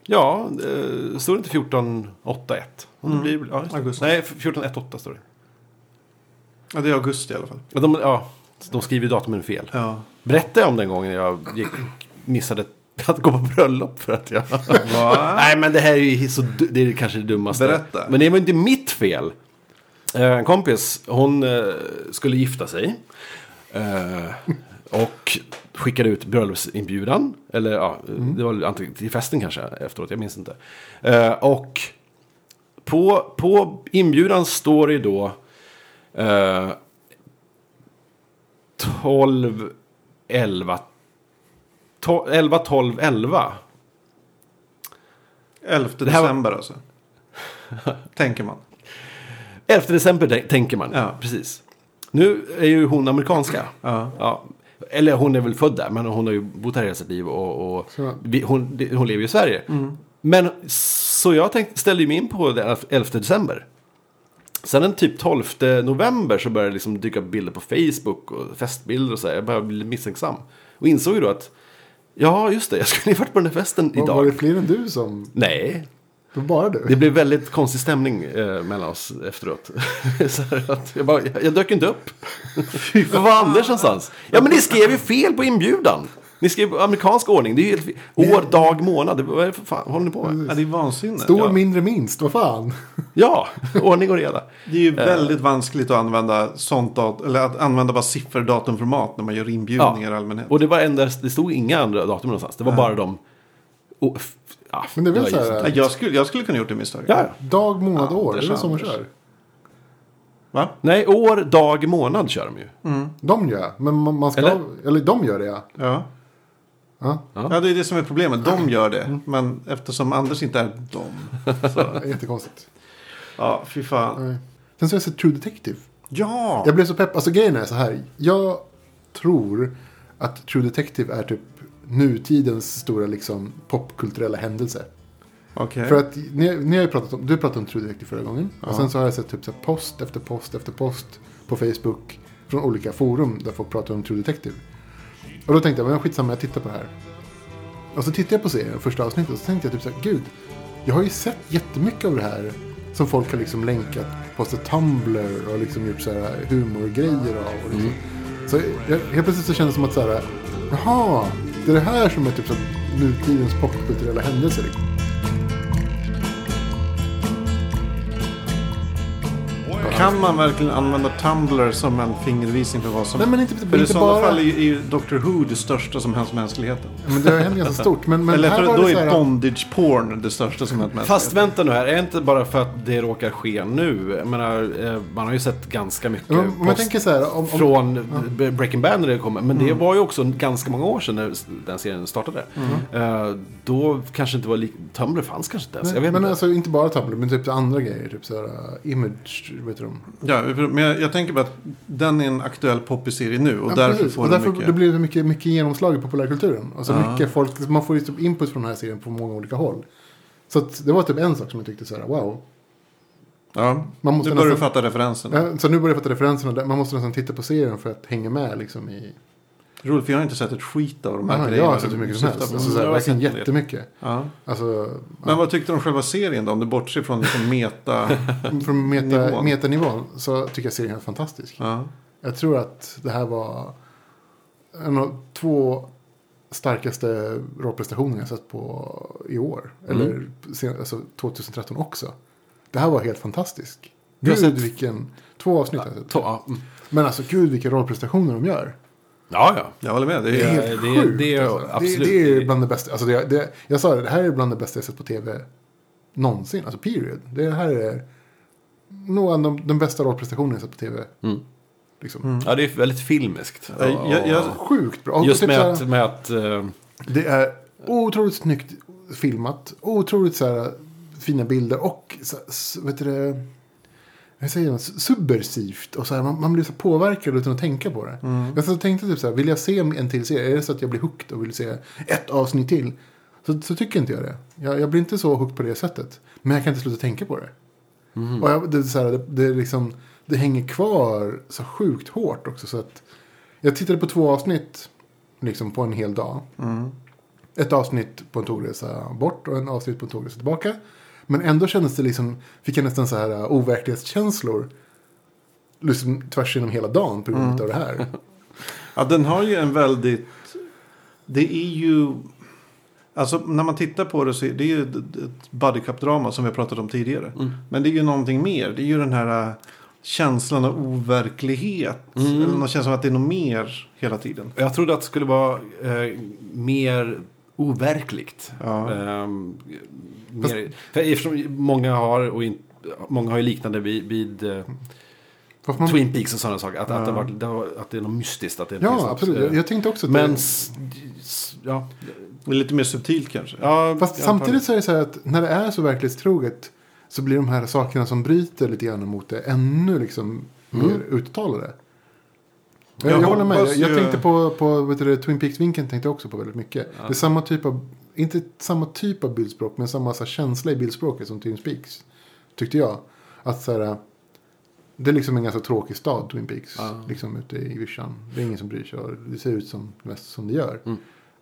A: Ja, eh, står det inte 14.8.1? Om det blir, ja, just det.
B: Augusti.
A: Nej, 14.1.8 står det.
B: Ja, det är augusti i alla fall.
A: Men De, ja, de skriver ju datumen fel.
B: Ja.
A: Berättade jag om den gången jag gick, missade att gå på bröllop för att jag...
B: Va?
A: Nej, men det här är ju så, du- det är kanske det dummaste.
B: Berätta.
A: Men det var inte mitt fel. Eh, En kompis, hon eh, skulle gifta sig. Eh, Och skickade ut bröllopsinbjudan. Eller ja, det var antingen till festen kanske efteråt, jag minns inte. Eh, Och på, på inbjudan står det då eh, 12, 11, 12, 11, 12, 11. här
B: 11
A: var- [laughs]
B: december alltså. Tänker man.
A: 11 december tän- tänker man.
B: Ja.
A: Precis. Nu är ju hon amerikanska.
B: Ja.
A: Eller hon är väl född där, men hon har ju bott här hela sitt liv och, och
C: Så- Mm.
A: vi, hon, det- hon lever ju i Sverige. Men så jag tänkte, ställde ju mig in på den 11 december. Sen den typ 12 november så började det liksom dyka upp bilder på Facebook och festbilder och så här. Jag började bli misstänksam. Och insåg ju då att, ja just det, jag skulle ju varit på den här festen
C: Var,
A: idag.
C: var det fler än du som...
A: Nej,
C: Det var bara du?
A: det blev väldigt konstig stämning eh, mellan oss efteråt. [laughs] så här att jag, bara, jag, jag dök inte
C: [laughs]
A: upp. Var var Anders någonstans? Ja, men ni skrev ju fel på inbjudan. Ni skrev på amerikansk ordning. Det är ju helt fel. År, dag, månad. Det- Vad är det för fan? håller ni på med?
C: Mm.
B: Ja, det är vansinne.
C: Stor
B: Ja.
C: mindre minst, vad fan?
A: Ja, [laughs] ordning och reda.
B: Det är ju väldigt vanskligt att använda sånt dat- eller att använda bara sifferdatumformat när man gör inbjudningar i allmänhet.
A: Och det var endast, det stod inga andra datum någonstans. Det var bara de... och- f- ja,
C: Men det är väl
A: jag
C: så här-
A: gissar
B: Ja,
A: inte.
B: jag, skulle, jag skulle kunna gjort det misstaget.
A: Ja, ja.
C: Dag, månad,
B: Ja,
C: år.
B: det
C: Det är väl så man
B: känns.
C: kör.
B: Va?
A: Nej, år, dag, månad kör de ju.
C: De gör jag. Men man, man ska...
A: Eller?
C: Eller? de gör
A: [laughs]
C: det ja.
B: Ja.
C: Ja. Mm.
B: Ja, det är det som är problemet. De gör det. Men eftersom Anders inte är dem.
C: Det är Jättekonstigt.
B: Ja, fy fan.
C: Nej. Sen så har jag sett True Detective.
B: Ja!
C: Jag blev så pepp. Alltså grejen är så här. Jag tror att True Detective är typ nutidens stora liksom popkulturella händelse.
B: Okej.
C: För att ni, ni har ju pratat om, du pratade om True Detective förra gången. Och sen så har jag sett typ så här post efter post efter post på Facebook. Från olika forum där folk pratar om True Detective. Och då tänkte jag, men skitsamma jag tittar på det här. Och så tittade jag på serien, första avsnittet, och så tänkte jag typ så här, gud. Jag har ju sett jättemycket av det här. Som folk har liksom länkat, postat Tumblr och liksom gjort så här humorgrejer av. Och liksom. Så jag, helt plötsligt så kändes det som att så här, jaha, det är det här som är typ så här nutidens popkulturella händelser. Liksom.
B: Kan man verkligen använda Tumblr som en fingervisning för vad som...
C: Nej, men inte-
B: för
C: inte
B: i sådana
C: bara-
B: fall är ju, är ju Doctor Who det största som hänt mänskligheten.
C: Men det har hänt ganska
B: [laughs]
C: stort. Men, men
B: Eller
C: här
B: för
C: var
B: då
C: det så
B: är
C: här,
B: bondage porn det största som hänt mänskligheten.
A: Fast vänta nu här, är det inte bara för att det råkar ske nu? Jag menar, eh, man har ju sett ganska mycket
C: om, om jag
A: post
C: tänker så här. Om, Mm. om,
A: från B- Breaking Bad när det kom. Men det var ju också ganska många år sedan när s- den serien startade.
C: Mm.
A: Eh, Då kanske inte var li- Tumblr fanns kanske inte ens. jag vet
C: men
A: inte.
C: alltså inte bara Tumblr, men typ andra grejer. Typ så här äh, image, vet du de?
B: Ja, men jag, jag tänker bara att den är en aktuell poppiserie nu och
C: Ja,
B: därför
C: precis.
B: får
C: och
B: den
C: därför
B: mycket.
C: det blir det mycket, mycket genomslag i populärkulturen. Alltså
B: Ja.
C: mycket folk, man får ju typ input från den här serien på många olika håll. Så att det var typ en sak som jag tyckte så här, wow.
B: Ja,
C: Man måste
B: nu börjar du
C: nästan-
B: fatta referensen.
C: Ja, Så nu börjar jag fatta referenserna. där. Man måste nästan titta på serien för att hänga med liksom i...
B: Roligt, för jag har inte sett ett skit av de här
C: Ja,
B: grejerna.
C: jag har sett
B: du
C: hur mycket som
B: syftar
C: helst.
B: på.
C: Alltså, så här,
B: Jag har
C: verkligen
B: sett en del.
C: jättemycket.
B: Ja.
C: Alltså,
B: Men vad tyckte du om själva serien då? Om du bortser från liksom
C: [laughs]
B: meta...
C: från meta,
B: Nivån.
C: metanivån så tycker jag serien är fantastisk.
B: ja.
C: Jag tror att det här var en av två starkaste rollprestationer jag sett på i år.
A: Mm.
C: Eller sen, alltså 2013 också. Det här var helt fantastiskt.
A: Du har
C: Gud
A: sett-
C: vilken... Två avsnitt har jag sett.
A: To- ja, mm.
C: Men alltså gud vilka rollprestationer de gör.
A: ja, ja.
B: Jag håller med. Det
C: Det är
B: är,
C: helt
A: det är-
C: sjukt.
A: det är-
C: alltså.
A: absolut.
C: det, det är bland det bästa. Alltså det, det, jag sa det, det här är bland det bästa jag sett på tv någonsin. Alltså period. Det här är nog en av de bästa rollprestationerna jag sett på tv.
A: Mm.
C: Liksom.
A: ja, det är väldigt filmiskt.
B: jag, jag, jag,
C: Sjukt bra. Och
A: Just
C: typ
A: med
C: så här-
A: att, med att eh,
C: Det är otroligt snyggt filmat. Otroligt så här, fina bilder och så, s- vet du det, hur säger man, S- subversivt. Och så här, man, man blir så påverkad utan att tänka på det. Jag så tänkte typ så här, vill jag se en till serie? Är det så att jag blir hooked och vill se ett avsnitt till? Så, så tycker inte jag det. Jag, jag blir inte så hooked på det sättet. Men jag kan inte sluta tänka på det. Och jag, det, är så här, det, det, är liksom, det hänger kvar så sjukt hårt också. Så att jag tittade på två avsnitt liksom, på en hel dag. Ett avsnitt på en tågresa bort och en avsnitt på en tågresa tillbaka. Men ändå kändes det liksom, fick jag nästan så här uh, overklighetskänslor. Liksom tvärs genom hela dagen på grund av det här.
B: ja, den har ju en väldigt... Det är ju... Alltså när man tittar på det så är det ju ett- ett buddy cup-drama som vi har pratat om tidigare. Men det är ju någonting mer. Det är ju den här äh, känslan av overklighet. Eller någon känsla av att det är något mer hela tiden.
A: Jag trodde att det skulle vara eh, mer overkligt.
B: Ja.
A: Ehm, mer, för eftersom många har, och in, många har ju liknande vid, vid eh,
C: Varför man-
A: Twin Peaks och sådana saker. Att, att, det var, det var, att det är något mystiskt. Att det inte finns
C: Ja,
A: något,
C: absolut.
A: eh,
C: Jag, jag tänkte också att
A: men,
C: det-
A: s- s- ja.
B: Det är lite mer subtilt kanske.
A: ja
C: Fast
A: i alla fall.
C: samtidigt så är det så här att när det är så verklighetstroget så blir de här sakerna som bryter lite grann mot det ännu liksom mer uttalade. Jag,
B: Jag
C: jag, håller med.
B: hoppas
C: Jag, jag
B: ju-
C: tänkte på, på vet du, det, Twin Peaks-vinkeln tänkte jag också på väldigt mycket. Det är samma typ av, inte samma typ av bildspråk men samma så här, känsla i bildspråket som Twin Peaks. Tyckte jag. Att så här, det är liksom en ganska tråkig stad, Twin Peaks. Liksom ute i vischan. Det är ingen som bryr sig. och Det ser ut som det mest som det gör.
B: Mm.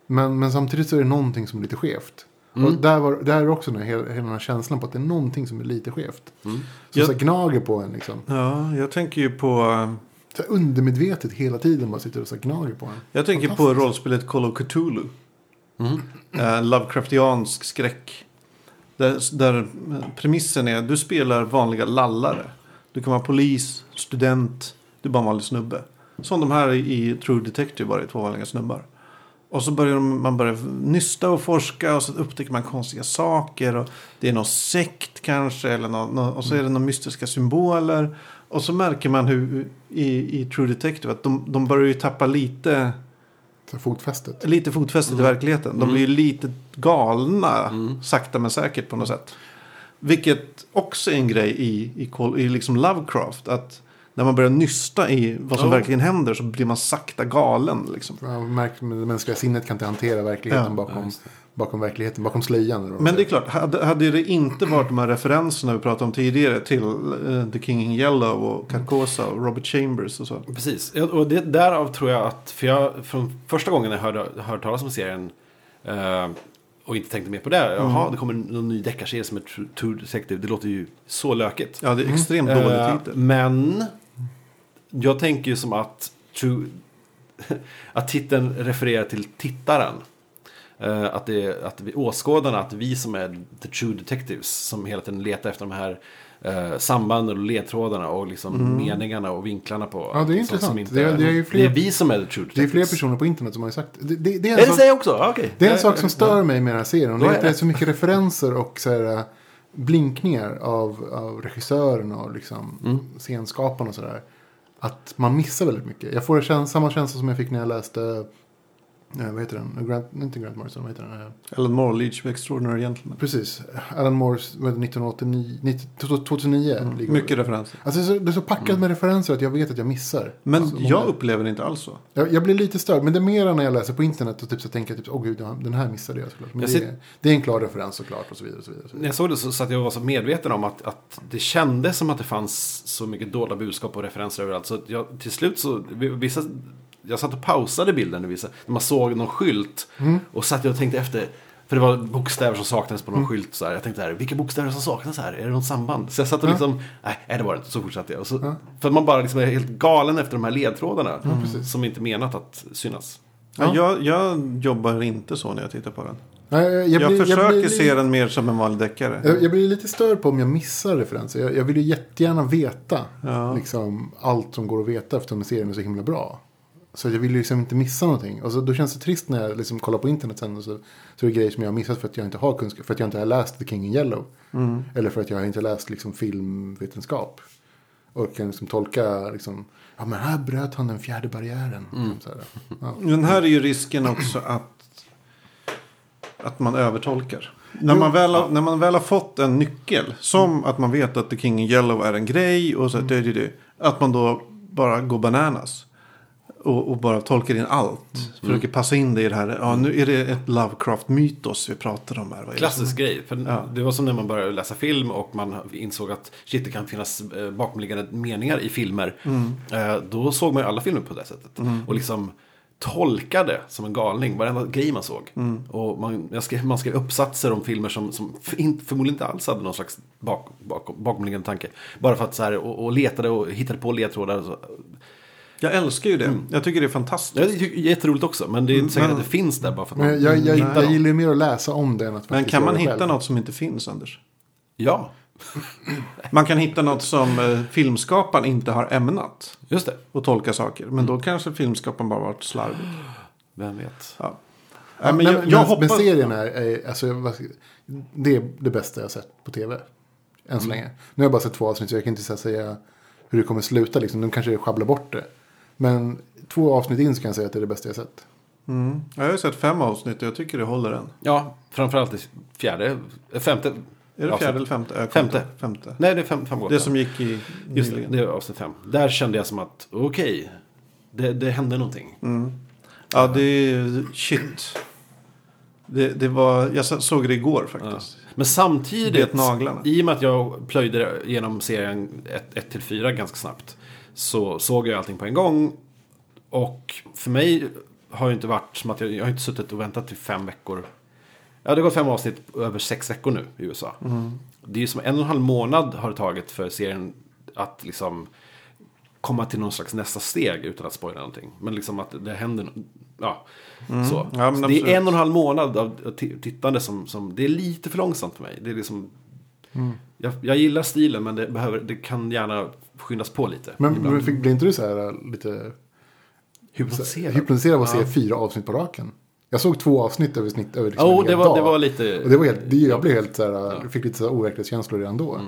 C: Men, men samtidigt så är det någonting som är lite skevt. Och
B: Mm.
C: där, var, där är också den här, hela hela den här känslan på att det är någonting som är lite skevt.
B: Mm.
C: Som
B: Jag-
C: så här gnager på en liksom.
B: Ja, jag tänker ju på... äh,
C: Så här undermedvetet hela tiden bara sitter och så här gnager på en.
B: Jag tänker på rollspelet Call of Cthulhu. Eh, Lovecraftiansk skräck. Där, där premissen är du spelar vanliga lallare. Du kan vara polis, student, du är bara en vanlig snubbe. Som de här i True Detective var det två vanliga snubbar. Och så börjar de, man börjar nysta och forska och så upptäcker man konstiga saker. Och det är någon sekt kanske eller nå- nå- och så är det några mystiska symboler. Och så märker man hur, i, i True Detective att de, de börjar ju tappa lite
C: Så här fotfästet.
B: lite fotfästet i verkligheten. De blir ju lite galna sakta men säkert på något sätt. Vilket också är en grej i, i, Call- i liksom Lovecraft. Att när man börjar nysta i vad som
A: Ja.
B: verkligen händer så blir man sakta galen. Liksom.
C: Man märker att det mänskliga sinnet kan inte hantera verkligheten
B: Ja,
C: bakom, bakom verkligheten, bakom slöjan. eller vad man
B: Men det är
C: säger.
B: klart, hade, hade det inte varit de här referenserna vi pratade om tidigare till eh, The King in Yellow och Carcosa och Robert Chambers och så.
A: Precis, Ja, och det, därav tror jag att, för jag från första gången jag hörde, hörde talas om serien eh, och inte tänkte mer på det, jaha, det kommer någon ny deckarserie som är True- True Detective, det låter ju så lökigt.
B: Ja, det är extremt
A: Eh,
B: dålig titel.
A: Men jag tänker ju som att, true, [laughs] att titeln refererar till tittaren. Eh, Att, det, att vi, åskådarna, att vi som är the true detectives som hela tiden letar efter de här eh, sambanden och ledtrådarna och liksom meningarna och vinklarna på.
C: Ja, det är
A: som-
C: intressant.
A: som inte
C: Det är- det är ju fler-
A: vi som är the true detectives.
C: det är fler personer på internet som har sagt. Det, det, det är en
A: Är det
C: sak-
A: säger jag också? Ah, okej.
C: Det är en sak som stör mig med den här serien. och Det
A: Vad
C: är
A: är
C: att det är
A: det?
C: så mycket referenser och så här, äh, blinkningar av, av regissören och liksom
B: Mm.
C: scenskaparna och sådär. Att man missar väldigt mycket. Jag får kän- samma känsla som jag fick när jag läste, eh, vad heter den, Grant, inte Grant Morrison, vad heter den? Eh,
B: Alan Moore, Leach of Extraordinary Gentlemen.
C: Precis, Alan Moores, vad är det, 1989, 90 2009. ligger-
B: Mm. Mycket referenser.
C: Alltså det är så, det är så packat med referenser att jag vet att jag missar.
B: Men
C: alltså, många-
B: jag upplever det inte alls så.
C: jag, jag blir lite störd, men det är mera när jag läser på internet och typ så tänker jag typ, åh gud, den här missade jag såklart. Men
A: Jag
C: det,
A: ser-
C: är, det är en klar referens såklart och så vidare. Och så vidare, och så
A: När
C: vidare.
A: jag såg det så satt jag och var så medveten om att, att det kändes som att det fanns så mycket dolda budskap och referenser överallt. Så att jag, till slut så, vissa, jag satt och pausade bilden i vissa, när man såg någon skylt. Och satt jag och tänkte efter, för det var bokstäver som saknades på någon skylt. Så här. Jag tänkte så här, vilka bokstäver som saknas här? Är det något samband? Så jag satt och liksom, nej, nej det var det inte. Så fortsatte jag. Och så, För att man bara liksom är helt galen efter de här ledtrådarna. Som inte menat att synas.
B: Ja. Jag, jag jobbar inte så när jag tittar på den.
C: Nej, jag,
B: Jag,
C: blir-
B: försöker
C: blir lite-
B: se den mer som en vanlig deckare.
C: Jag, jag blir lite störd på om jag missar referenser. Jag, jag vill ju jättegärna veta liksom, allt som går att veta eftersom serien är så himla bra. Så jag vill ju liksom inte missa någonting. Och så, då känns det trist när jag liksom kollar på internet sen och så, så är det grejer som jag har missat för att jag inte har kunskap. För att jag inte har läst The King in Yellow.
B: Mm.
C: Eller för att jag inte har läst liksom, filmvetenskap. Och kan liksom tolka liksom, ja men här bröt han den fjärde barriären.
B: Mm.
C: Liksom Så här, ja.
B: Men här är ju risken också att, att man övertolkar. När man, väl har, när man väl har fått en nyckel, som
C: Mm.
B: att man vet att The King in Yellow är en grej och så det, det, det, att man då bara går bananas. Och, och bara tolkar in allt.
C: Mm.
B: Försöker passa in det i det här. Ja, nu är det ett Lovecraft-mytos vi pratar om här. Vad är det som-
A: Klassisk
C: Liksom.
A: grej. För Det var som när man började läsa film och man insåg att shit, det kan finnas eh, bakomliggande meningar i filmer.
C: Mm.
A: Eh, Då såg man ju alla filmer på det sättet. Och liksom tolkade som en galning varenda grej man såg.
C: Mm.
A: Och man, jag skrev, man skrev uppsatser om filmer som, som f- in- förmodligen inte alls hade någon slags bak, bak, bakomliggande tanke. Bara för att så här, och, och letade och hittade på ledtrådar. Och så.
B: Jag älskar ju det.
C: Mm.
B: Jag tycker det är
A: Ja,
B: fantastiskt.
A: det är ju jätteroligt också, men det är inte säkert att det finns där bara för att
C: Men
A: man
C: jag, jag, jag,
A: hittar något.
C: gillar ju mer att läsa om det än
B: Mm.
C: att
B: Men
C: faktiskt
B: kan
C: göra
B: man
C: det
B: hitta
C: själv.
B: något som inte finns, Anders?
A: Ja,
B: Man kan hitta något som eh, filmskaparen inte har ämnat
A: just det.
B: och tolka saker. Men då kanske filmskaparen bara varit slarvig.
A: Vem vet.
B: Ja.
C: Ja,
B: Nej, men
C: nej,
B: jag,
C: men,
B: jag
C: men,
B: hoppas...
C: serien är, är alltså, jag- vad ska- det är det bästa jag har sett på tv. Än så länge. Nu har jag bara sett två avsnitt så jag kan inte så här säga hur det kommer sluta. Liksom. De kanske sjabblar bort det. Men två avsnitt in så kan jag säga att det är det bästa jag har sett.
B: Mm. Jag har ju sett fem avsnitt och jag tycker det håller än.
A: Ja, framförallt i fjärde, eh, femte.
B: Är det
A: avsnitt.
B: fjärde eller femte? Jag kommer inte
A: Femte.
B: ihåg. femte.
A: Nej, det är fem, fem gånger.
B: Det som gick i
A: Just det,
B: nyligen.
A: det är avsnitt fem. Där kände jag som att, okej, det, det hände någonting.
B: Mm. Ja, det är shit. Det, det var, jag så- såg det igår faktiskt.
A: Men samtidigt,
B: Bet naglarna.
A: i och med att jag plöjde genom serien 1-4 ganska snabbt. Så såg jag allting på en gång. Och för mig har det inte varit som att jag, jag har inte suttit och väntat i fem veckor. Ja, det har gått fem avsnitt över sex veckor nu i USA. Det är ju som en och en halv månad har det tagit för serien att liksom komma till någon slags nästa steg utan att spoila någonting. Men liksom att det händer, no- ja. Så.
B: Ja, men
A: så det
B: absolut.
A: är en och en halv månad av t- tittande som, som, det är lite för långsamt för mig. Det är liksom, jag, jag gillar stilen men det, behöver, det kan gärna skyndas på lite.
C: Men, men fick, blir inte du så här äh, lite
A: Hypnotiserad.
C: hypnotiserad av att se fyra avsnitt på raken? Jag såg två avsnitt över, snitt, över liksom
A: Ja,
C: en
A: och det
C: hel
A: var,
C: dag.
A: det var lite...
C: Och det var helt, det, jag blev helt så här, äh, fick lite så här overklighetskänslor redan då.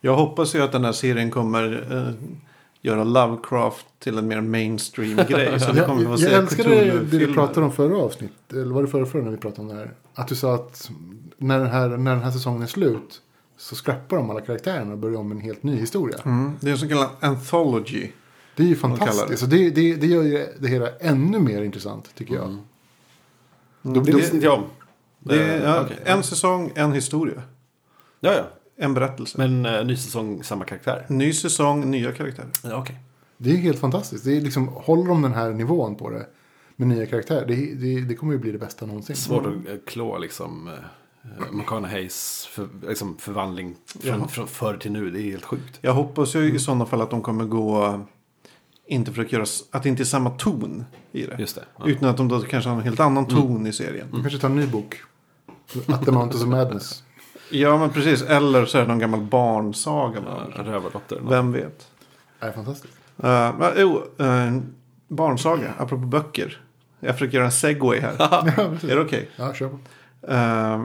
B: Jag hoppas ju att den här serien kommer eh, göra Lovecraft till en mer mainstream grej.
C: [laughs]
B: Så vi
C: Jag,
B: kommer
C: jag,
B: att se
C: älskade det, det vi
B: Cthulhu-filmer.
C: pratade om förra avsnitt. Eller var det förra, förra när vi pratade om det här? Att du sa att när den här, när den här säsongen är slut så scrappar de alla karaktärerna och börjar om med en helt ny historia.
B: Mm, det är en så kallad anthology.
C: Det är ju
B: kallar det.
C: fantastiskt. Och det, det, det gör ju det hela ännu mer intressant tycker
B: Mm.
C: jag. Då
A: Det
C: blir
A: visste inte
C: det,
A: jag om.
B: Det är, ja,
A: Eh, okej.
B: En säsong, en historia.
A: Ja, ja.
B: En berättelse.
A: Men eh, ny säsong, samma karaktär.
B: Ny säsong, nya karaktärer.
A: Ja, okej.
C: det är ju helt fantastiskt. Det är liksom, håller de den här nivån på det med nya karaktärer, det, det, det kommer ju bli det bästa någonsin. Mm.
A: Svårt att eh, klå liksom eh, McConaugheys för, liksom, förvandling från, från förr till nu. Det är helt sjukt.
B: Jag hoppas
A: Mm.
B: ju i sådana fall att de kommer gå... Inte för att göra... s- Att det inte är samma ton i det.
A: Just det, ja. Mm.
B: Utan att de då kanske har en helt annan ton i serien.
C: De kanske tar en ny bok. At the Mountains of Madness.
B: Ja, men precis. Eller så är det någon gammal barnsaga. man
A: En Rövardotter. eller något.
B: Vem vet?
C: Det är fantastiskt.
B: Eh, men, jo, eh, barnsaga, apropå böcker. Jag försöker göra en
A: [laughs]
B: segway här. är det okej?
C: Ja, kör på.
B: Eh,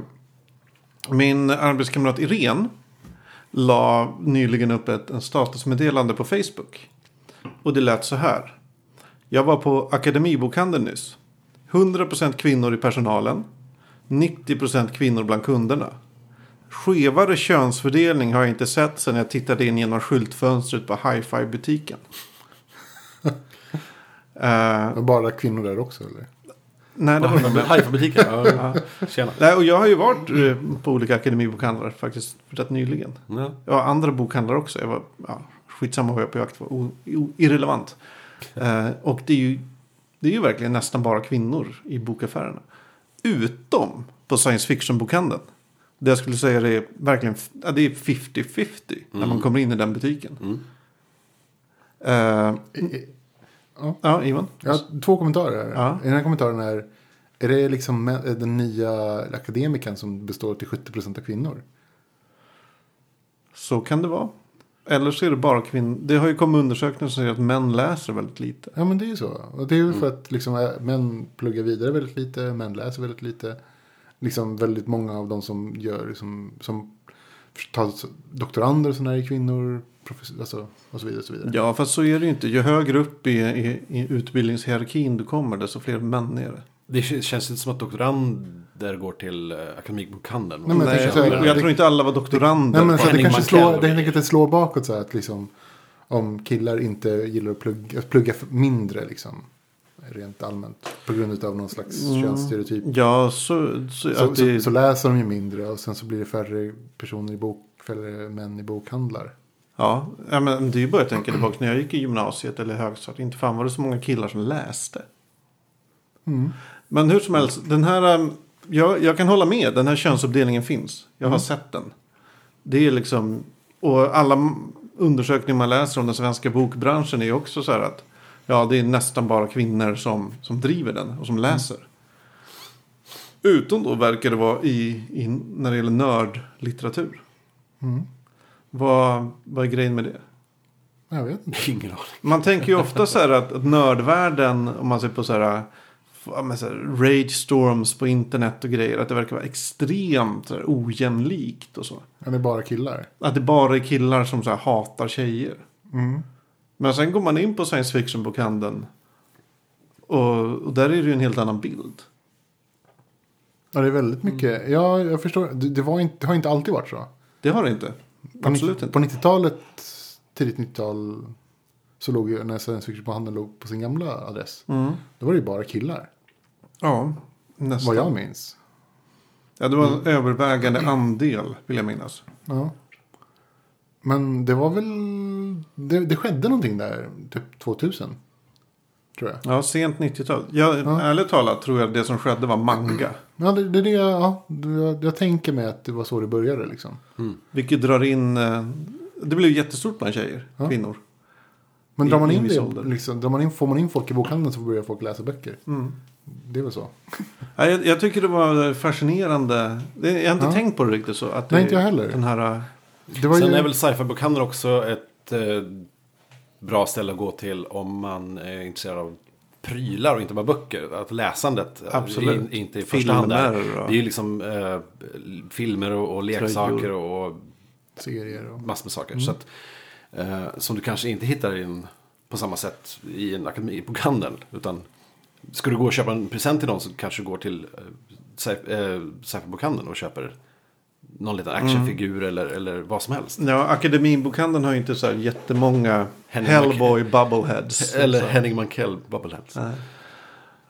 B: min arbetskamrat Irene la nyligen upp ett en statusmeddelande på Facebook. Och det lät så här. Jag var på Akademibokhandeln nyss. 100% kvinnor i personalen. 90% kvinnor bland kunderna. Skevare könsfördelning har jag inte sett sedan jag tittade in genom skyltfönstret på hi-fi-butiken. [laughs] Eh,
C: Men Bara kvinnor där också eller?
B: nej, det var det.
A: Hajfabutiken. Ja, ja. Tjena.
B: Nej, och jag har ju varit eh, på olika akademibokhandlar faktiskt rätt nyligen.
A: Ja.
B: Jag var andra bokhandlar också. Jag var, ja, skitsamma vad jag på jakt var. O, o, irrelevant. Eh, och det är, ju, det är ju verkligen nästan bara kvinnor i bokaffärerna. Utom på science fiction-bokhandeln. Där jag skulle säga det är verkligen ja, det är 50-50 när man kommer in i den butiken. Eh,
C: Ja.
B: ja, Ivan?
C: Jag har två kommentarer. här.
B: Ja.
C: Den här kommentaren är, är det liksom mä- den nya akademikern som består till 70% av kvinnor?
B: Så kan det vara. Eller så är det bara kvinnor. Det har ju kommit undersökningar som säger att män läser väldigt lite.
C: Ja men det är ju så. Och det är ju för att liksom, äh, män pluggar vidare väldigt lite, män läser väldigt lite. Liksom väldigt många av de som gör, liksom, som tar doktorander och sådana här är kvinnor. Professor, alltså, och så vidare. Och så vidare.
B: Ja, fast så är det ju inte. Ju högre upp i, i, i utbildningshierarkin du kommer, desto fler män är det.
A: Det k- känns inte som att doktorander går till eh, Akademibokhandeln.
C: Nej, men jag
B: Nej,
C: tänker så här-
B: och jag tror inte alla var doktorander.
C: Nej, men så att det
A: Henning
C: kanske
A: Mankell.
C: slår, det kanske inte slår bakåt så här att liksom, om killar inte gillar att plugga, att plugga för- mindre liksom, rent allmänt på grund av någon slags könsstereotyp.
B: Ja, så, så,
C: Så,
B: Mm. att det,
C: så, så läser de ju mindre och sen så blir det färre personer i bok, färre män i bokhandlar.
B: ja, ja, men det är ju bara jag tänker tillbaka när jag gick i gymnasiet eller högstadiet. Inte fan var det så många killar som läste. Men hur som helst, den här, um, jag, jag kan hålla med. Den här könsuppdelningen finns. Jag har sett den. Det är liksom, och alla m- undersökning man läser om den svenska bokbranschen är ju också så här att ja, det är nästan bara kvinnor som, som driver den och som läser. Utom då verkar det vara i, i, när det gäller nördlitteratur.
C: Mm.
B: Vad, vad är grejen med det?
C: Jag vet inte.
A: [laughs] Ingen aning.
B: Man tänker ju ofta så här att, att nördvärlden, om man ser på så här, ja, men så här rage storms på internet och grejer, att det verkar vara extremt så här, ojämlikt och så.
C: Han är bara killar.
B: Att det bara är killar som så här, hatar tjejer. Mm. Men sen går man in på science fiction-bokhandeln och, och där är det ju en helt annan bild.
C: Ja, det är väldigt mycket.
B: Mm.
C: Ja, jag förstår. Det, det, var inte, det har inte alltid varit så.
B: Det har det inte.
C: På
B: Absolut
C: nitt-
B: inte.
C: På 90-talet, tidigt 90-tal, så låg ju när science fiction på handeln låg på sin gamla adress. Då var det ju bara killar,
B: Ja, Mm. nästan.
C: vad jag minns.
B: Ja, det var en övervägande andel, vill jag minnas.
C: Ja. Men det var väl, det, det skedde någonting där, typ 2000. Tror jag.
B: Ja, sent 90-tal. Ja, Ärligt talat tror jag det som skedde var manga.
C: Ja, det, det är det jag, ja, det- jag, jag tänker mig att det var så det började liksom.
B: Vilket drar in... eh, Det blev jättestort bland tjejer, kvinnor.
C: Men
B: I-
C: drar man
B: i
C: in
B: viss
C: det,
B: ålder.
C: liksom, drar man in, får man in folk i bokhandeln så börjar folk läsa böcker.
A: Mm.
C: Det är väl så.
B: Ja, Jag, jag tycker det var fascinerande. Det- Jag har inte
C: Ja.
B: tänkt på det riktigt så. Att det,
C: Nej, inte jag heller.
B: Den här, eh,
C: Det var
A: Sen
C: ju,
A: är väl sci-fi-bokhandeln också ett eh, bra ställe att gå till om man är intresserad av prylar och inte bara böcker. Att läsandet eh,
B: Absolut.
A: är in- inte i första hand där.
B: Filmer och-
A: Det är ju liksom eh, filmer och, och leksaker och, och
C: serier och...
A: massor med saker. Så att, eh, som du kanske inte hittar i en, på samma sätt i en akademibokhandel. Utan ska du gå och köpa en present till någon så kanske du går till eh, sci- eh, sci-fi-bokhandeln och köper någon liten actionfigur eller, eller vad som helst.
B: ja, Akademibokhandeln har ju inte så här jättemånga
A: Henrik-
B: Hellboy
A: [laughs]
B: bubbleheads.
A: Eller
B: Så.
A: Henning Mankell, Bubbleheads.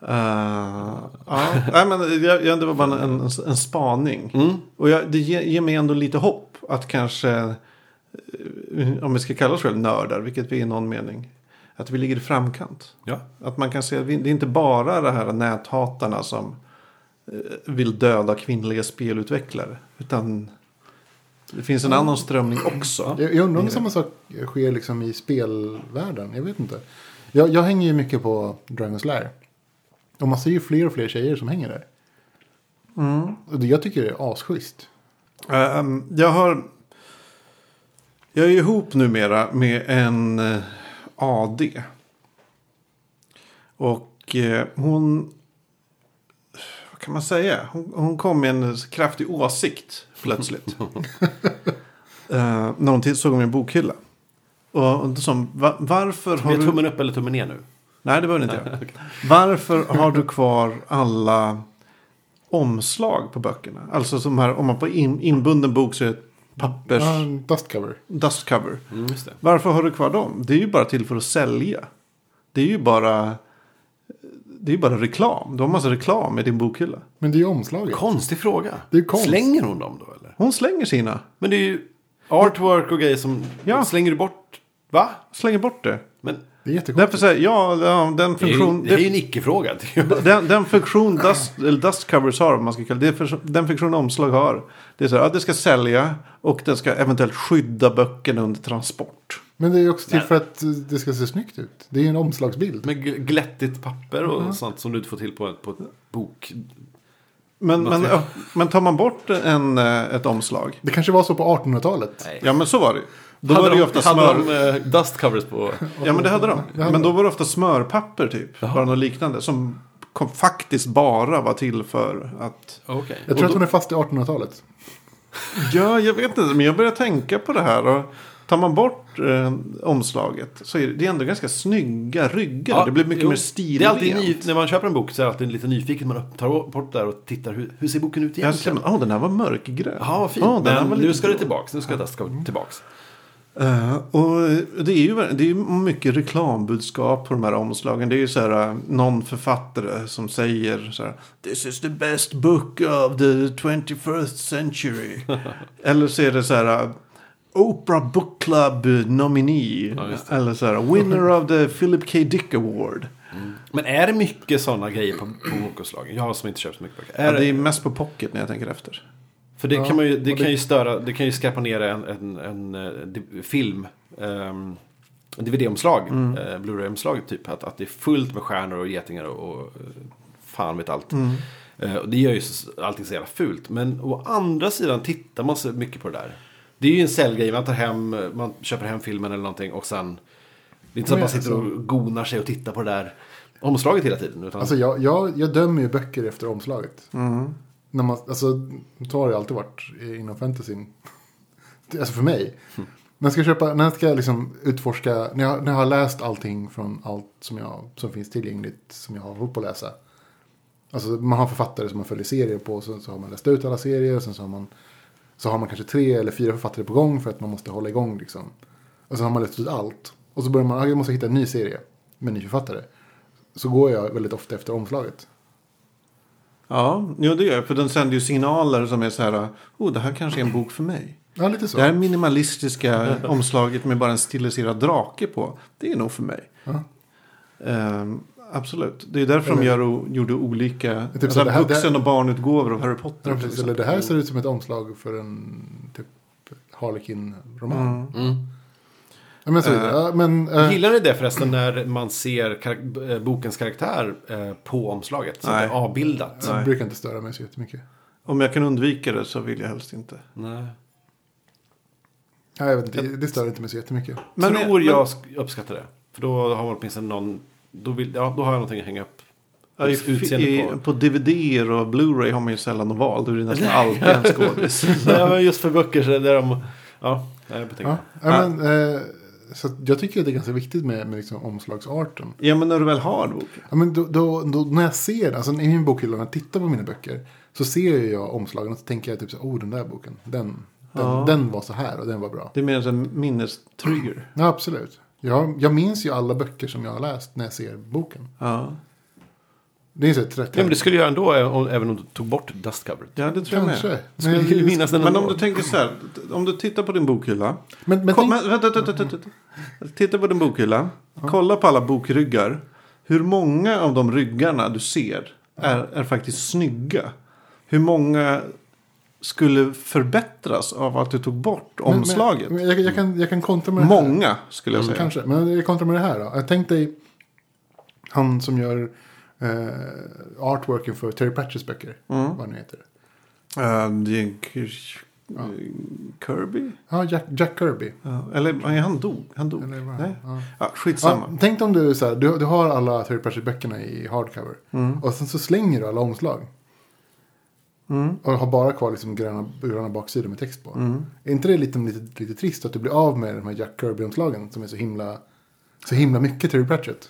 B: Eh, ja. Nej, men jag, jag, det var bara en, en, en spaning. Och jag, det ger, ger mig ändå lite hopp att kanske, eh, om vi ska kalla oss själva nördar, vilket vi är i någon mening, att vi ligger i framkant.
A: Ja.
B: Att man kan se att vi, det är inte bara de här näthatarna som eh, vill döda kvinnliga spelutvecklare. Utan det finns en annan strömning också.
C: Jag, jag undrar om samma sak sker liksom i spelvärlden. Jag vet inte. Jag, jag hänger ju mycket på Dragon's Lair. Och man ser ju fler och fler tjejer som hänger där. Och det, jag tycker det är asschysst.
B: Ehm, jag har... Jag är ihop numera med en eh, AD. Och eh, hon... Vad kan man säga? Hon, hon kom med en eh, kraftig åsikt plötsligt. uh, när hon till- såg min bokhylla. Och och som, va, varför har
A: Har
B: du...
A: tummen upp eller tummen ner nu?
B: Nej, det behöver ni inte göra. Varför har du kvar alla omslag på böckerna? Alltså som här, om man på in, inbunden bok så är det ett pappers
C: Ja, en dust cover.
B: dust cover.
A: Mm, just det.
B: Varför har du kvar dem? Det är ju bara till för att sälja. Det är ju bara, det är ju bara reklam. Du har massa reklam i din bokhylla.
C: Men det är ju omslaget.
A: Konstig fråga.
C: Det är konst.
A: Slänger hon dem då eller?
B: Hon slänger sina.
A: Men det är ju artwork och grejer som...
B: Ja.
A: Slänger du bort... Va?
B: Slänger bort det.
A: Men
C: Det är jättekonstigt.
B: Därför säger jag, ja, den
A: det är ju,
B: funktion...
A: det är ju en icke-fråga. Det är ju-
B: Den, den funktion dust, eller dust covers har, om man ska kalla det, för, den funktion omslag har, det är så här, att det ska sälja och den ska eventuellt skydda böckerna under transport.
C: Men det är ju också till för att eh, det ska se snyggt ut. Det är ju en omslagsbild.
A: Med gl- glättigt papper och sånt som du inte får till på, ett- på ett bok.
B: Men, men,
A: Material.
B: men tar man bort en, eh, ett omslag,
C: Det kanske var så på 1800-talet.
A: Nej.
B: ja men så var det ju. Då
A: hade
B: var det ju
A: de,
B: ofta
A: hade
B: smör...
A: de eh, dust covers på...
B: Ja men det hade de. Men då var det ofta smörpapper typ, bara något liknande, som kom, faktiskt bara var till för att...
A: Okej.
C: Jag tror att hon är fast i 1800-talet.
B: Ja, jag vet inte, men jag börjar tänka på det här. Och tar man bort eh, omslaget så är det, det är ändå ganska snygga ryggar. det blir mycket
A: jo.
B: mer stilrent.
A: Det är alltid ny, när man köper en bok så är det alltid lite nyfiken. Man tar bort där och tittar. Hur, hur ser boken ut
B: Jag
A: egentligen?
B: ser, men, åh, den här var mörkgrön.
A: Ja, vad fint.
B: Åh, den här var
A: men
B: lite
A: nu ska det
B: grå.
A: tillbaks. Nu ska dust cover tillbaks.
B: Eh, och det är ju det är ju mycket reklambudskap på de här omslagen. Det är ju så här eh, någon författare som säger så här. This is the best book of the 21st century. Eller så är det så här. eh, Oprah Book Club nominee. Eller så här. Winner of the Philip K. Dick Award.
A: Men är det mycket sådana grejer på, på bokomslagen? Jag som inte köpt så mycket böcker.
B: Ja,
A: Är
B: det
A: det,
B: är mest på pocket när jag tänker efter.
A: för det, kan, man ju, det kan ju störa, det kan ju skräpa ner en, en, en, eh, di- film ehm, DVD-omslag, eh, Blu-ray-omslag typ. Att, att det är fullt med stjärnor och getingar och, och eh, fan vet allt. Eh, och det gör ju så- allting så jävla fult. Men å andra sidan tittar man så mycket på det där. Det är ju en säljgrej, man tar hem, eh, man köper hem filmen eller någonting och sen. Det är inte så att
C: Men
A: man sitter och gonar sig och tittar på det där omslaget hela tiden. Utan,
C: Alltså jag, jag, jag dömer ju böcker efter omslaget. När man, alltså, så har det alltid varit inom fantasyn. Alltså för mig. När jag ska, köpa, när jag ska liksom utforska, när jag, när jag har läst allting från allt som, jag, som finns tillgängligt som jag har hållit på att läsa. Alltså man har författare som man följer serier på, så, så har man läst ut alla serier, och sen så har man, så har man kanske tre eller fyra författare på gång för att man måste hålla igång liksom. Och sen har man läst ut allt. Och så börjar man, "Ah, jag måste hitta en ny serie med en ny författare. Så går jag väldigt ofta efter omslaget.
B: Ja, jo, det gör jag. För den sänder ju signaler som är så här. Oh, det här kanske är en bok för mig.
C: Ja, lite så.
B: Det här minimalistiska [laughs] omslaget med bara en stiliserad drake på. Det är nog för mig.
C: Ja.
B: Ehm, absolut. Det är därför de gör, o- gjorde olika
C: Typ så
B: alltså,
C: det här-
B: vuxen och barnutgåvor av Harry Potter.
C: Ja,
B: till
C: precis. Eller
B: exempel.
C: det här ser ut som ett omslag för en typ Harlequin-roman. Ja, men så,
B: Eh,
C: ja, men, eh,
A: Gillar ni det förresten när man ser karak- eh, bokens karaktär eh, på omslaget? Så att det
B: Nej.
A: är avbildat.
C: det brukar inte störa mig så jättemycket.
B: Om jag kan undvika det så vill jag helst inte.
A: Nej.
C: Ja, jag vet inte, det- det stör inte mig så jättemycket.
B: Men-
A: Tror
B: men-
A: jag sk- uppskattar det. För då har man åtminstone någon... Då, vill, ja, då har jag någonting att hänga upp.
B: Ja, i,
A: Ut- utseende
B: i,
A: [laughs] på.
B: på DVD-er och Blu-ray har man ju sällan oval. Då är det nästan alltid en
C: [laughs]
B: skådis.
A: [laughs] Nej, men just för böcker så är det de... Ja, nej, jag betänker.
C: Ja, ja, men, eh, så att jag tycker att det är ganska viktigt med, med liksom omslagsarten.
B: Ja, men när du väl har boken.
C: Ja, men då, då, då, när jag ser, alltså i min bokhylla, när jag tittar på mina böcker, så ser ju jag omslagen och så tänker jag typ så här, oh den där boken, den, den, den var så här och den var bra.
B: Det är mer en sån här minnestrigger.
C: Ja, absolut. Jag, jag minns ju alla böcker som jag har läst när jag ser boken.
B: Ja.
C: Det är så här 30
A: Nej, men det skulle jag ändå eh, om- även om du tog bort dustcoveret.
B: ja, det tror jag med.
C: Kanske. Men,
A: Skulle du minnas den
B: Men
A: ändå?
B: om du tänker så här. Om du tittar på din bokhylla.
C: men, men
B: Kom,
C: tänk,
B: vänta, vänta, vänta, vänta. Titta på din bokhylla. Kolla på alla bokryggar. Hur många av de ryggarna du ser är, är faktiskt snygga? Hur många skulle förbättras av att du tog bort
C: men-
B: omslaget?
C: Men, jag, jag, kan, jag kan kontra med det här.
B: många skulle jag säga.
C: Kanske, men jag kontra med det här då. Jag tänkte dig han som gör eh, artworken för Terry Pratchetts böcker.
B: Mm.
C: Vad nu heter.
B: Eh, det är en Kir- Kirby?
C: Ja, Jack, Jack Kirby.
B: Ja, Eller nej, han dog. Han dog.
C: Eller vad-
B: Nej.
C: ja.
B: Ja,
C: Ja,
B: skitsamma.
C: tänk om du, så här, du, du har alla Terry Pratchett-böckerna i hardcover.
B: Mm.
C: Och sen så slänger du alla omslag.
B: Mm.
C: Och har bara kvar liksom gröna, gröna baksidor med text på. Är inte det lite, lite, lite trist att du blir av med de här Jack Kirby-omslagen som är så himla, så himla mycket Terry Pratchett?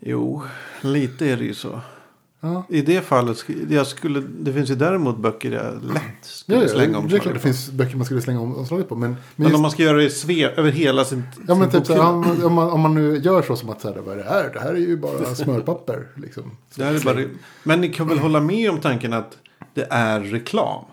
B: Jo, lite är det ju så.
C: Ja.
B: I det fallet, sk- jag skulle, det finns ju däremot böcker jag lätt skulle
C: Ja, ja,
B: slänga
C: det är
B: omslaget
C: klart det
B: på.
C: finns böcker man skulle slänga om- omslaget på. Men, men,
B: Men
C: just-
B: om man ska göra det i sve, över hela sin,
C: Ja men
B: sin
C: typ så här,
B: bokhylla.
C: om, om, man, om man nu gör så som att så här, vad är det här? Det här är
B: [laughs]
C: ju bara smörpapper liksom.
B: det här är bara, Men ni kan väl hålla med om tanken att det är reklam?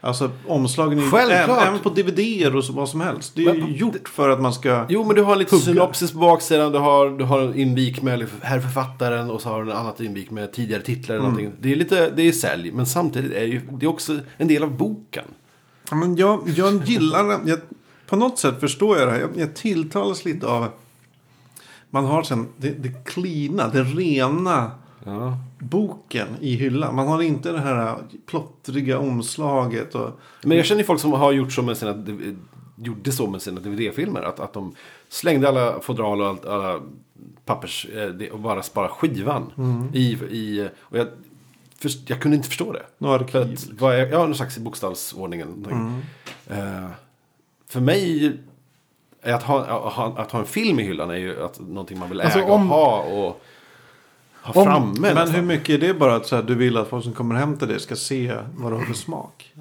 B: Alltså omslagen är ju även,
A: Självklart.
B: även på dvd och så, vad som helst. Det är ju gjort för att man ska...
A: Jo, men du har lite
B: Hugga.
A: synopsis på baksidan. Du har, du har en invik med herr författaren och så har du en annat invik med tidigare titlar. Eller någonting. Det är lite det är sälj, men samtidigt är ju, det är också en del av boken.
B: Ja, Men jag, jag gillar jag, På något sätt förstår jag det här. Jag, jag tilltalas lite av... Man har sen det, det cleana, det rena boken i hyllan. Man har inte det här plottriga omslaget. Och,
A: Men jag känner ju folk som har gjort så med sina, gjorde så med sina DVD-filmer. Att, att de slängde alla fodral och allt, alla pappers eh, det- och bara sparade skivan. I, i, och jag, först, jag kunde inte förstå det.
B: Några arkiv,
A: För att,
B: liksom.
A: vad är, ja, någon slags i bokstavsordningen. någonting.
C: Mm.
A: Eh, för mig, är att ha, att, ha, att ha en film i hyllan är ju att, någonting man vill
C: Alltså,
A: äga
C: om-
A: och ha. Och, ha
C: om-
A: framme Liksom.
B: men
A: nästan.
B: hur mycket är det bara att så här, du vill att folk som kommer hem till dig ska se vad du har för smak?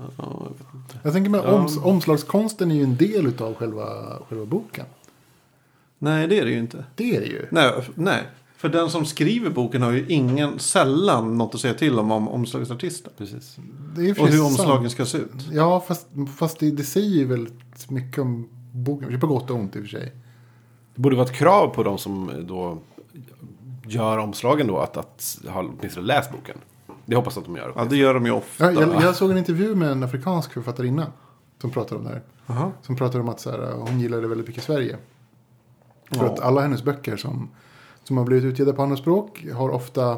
C: Jag tänker mig oms, omslagskonsten är ju en del av själva, själva boken.
B: Nej, det är det ju inte.
C: Det är det ju.
B: Nej, f- nej. För den som skriver boken har ju ingen, sällan något att säga till om, om omslagsartisten.
A: Precis.
C: Det är ju för
B: Och hur
C: sant.
B: omslagen ska se ut.
C: Ja fast, fast det, det säger ju väldigt mycket om boken. På gott och ont i och för sig.
A: Det borde vara ett krav på de som då gör omslagen då att, att ha åtminstone läst boken. Det hoppas jag att de gör.
B: Ja, det gör de ju
C: Ja,
B: ofta.
C: jag, jag såg en intervju med en afrikansk författarinna. Som pratar om det här.
B: Aha.
C: Som pratar om att så här, hon gillade väldigt mycket Sverige. För att alla hennes böcker som, som har blivit utgivna på andra språk har ofta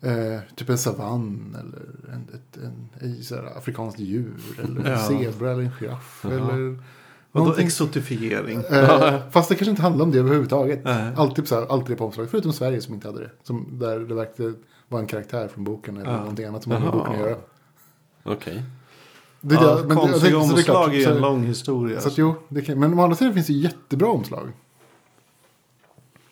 C: eh, typ en savann eller en, ett, en, en så här, afrikanskt djur. Eller en
B: Ja.
C: zebra eller en giraff. Eller
B: Vadå
C: någonting.
B: exotifiering?
C: Eh, fast det kanske inte handlar om det överhuvudtaget.
B: Nej.
C: Alltid, så här, alltid det på omslaget. Förutom Sverige som inte hade det. Som, där det verkade vara en karaktär från boken eller
B: Ja.
C: någonting annat som hade med boken att göra.
A: Okej.
C: Det,
B: ja,
C: men det- jag
B: konstiga
C: tänkte- så det är klart,
B: omslag är ju
C: så-
B: en lång historia.
C: Så att, jo, det kan, men å andra sidan finns det jättebra omslag.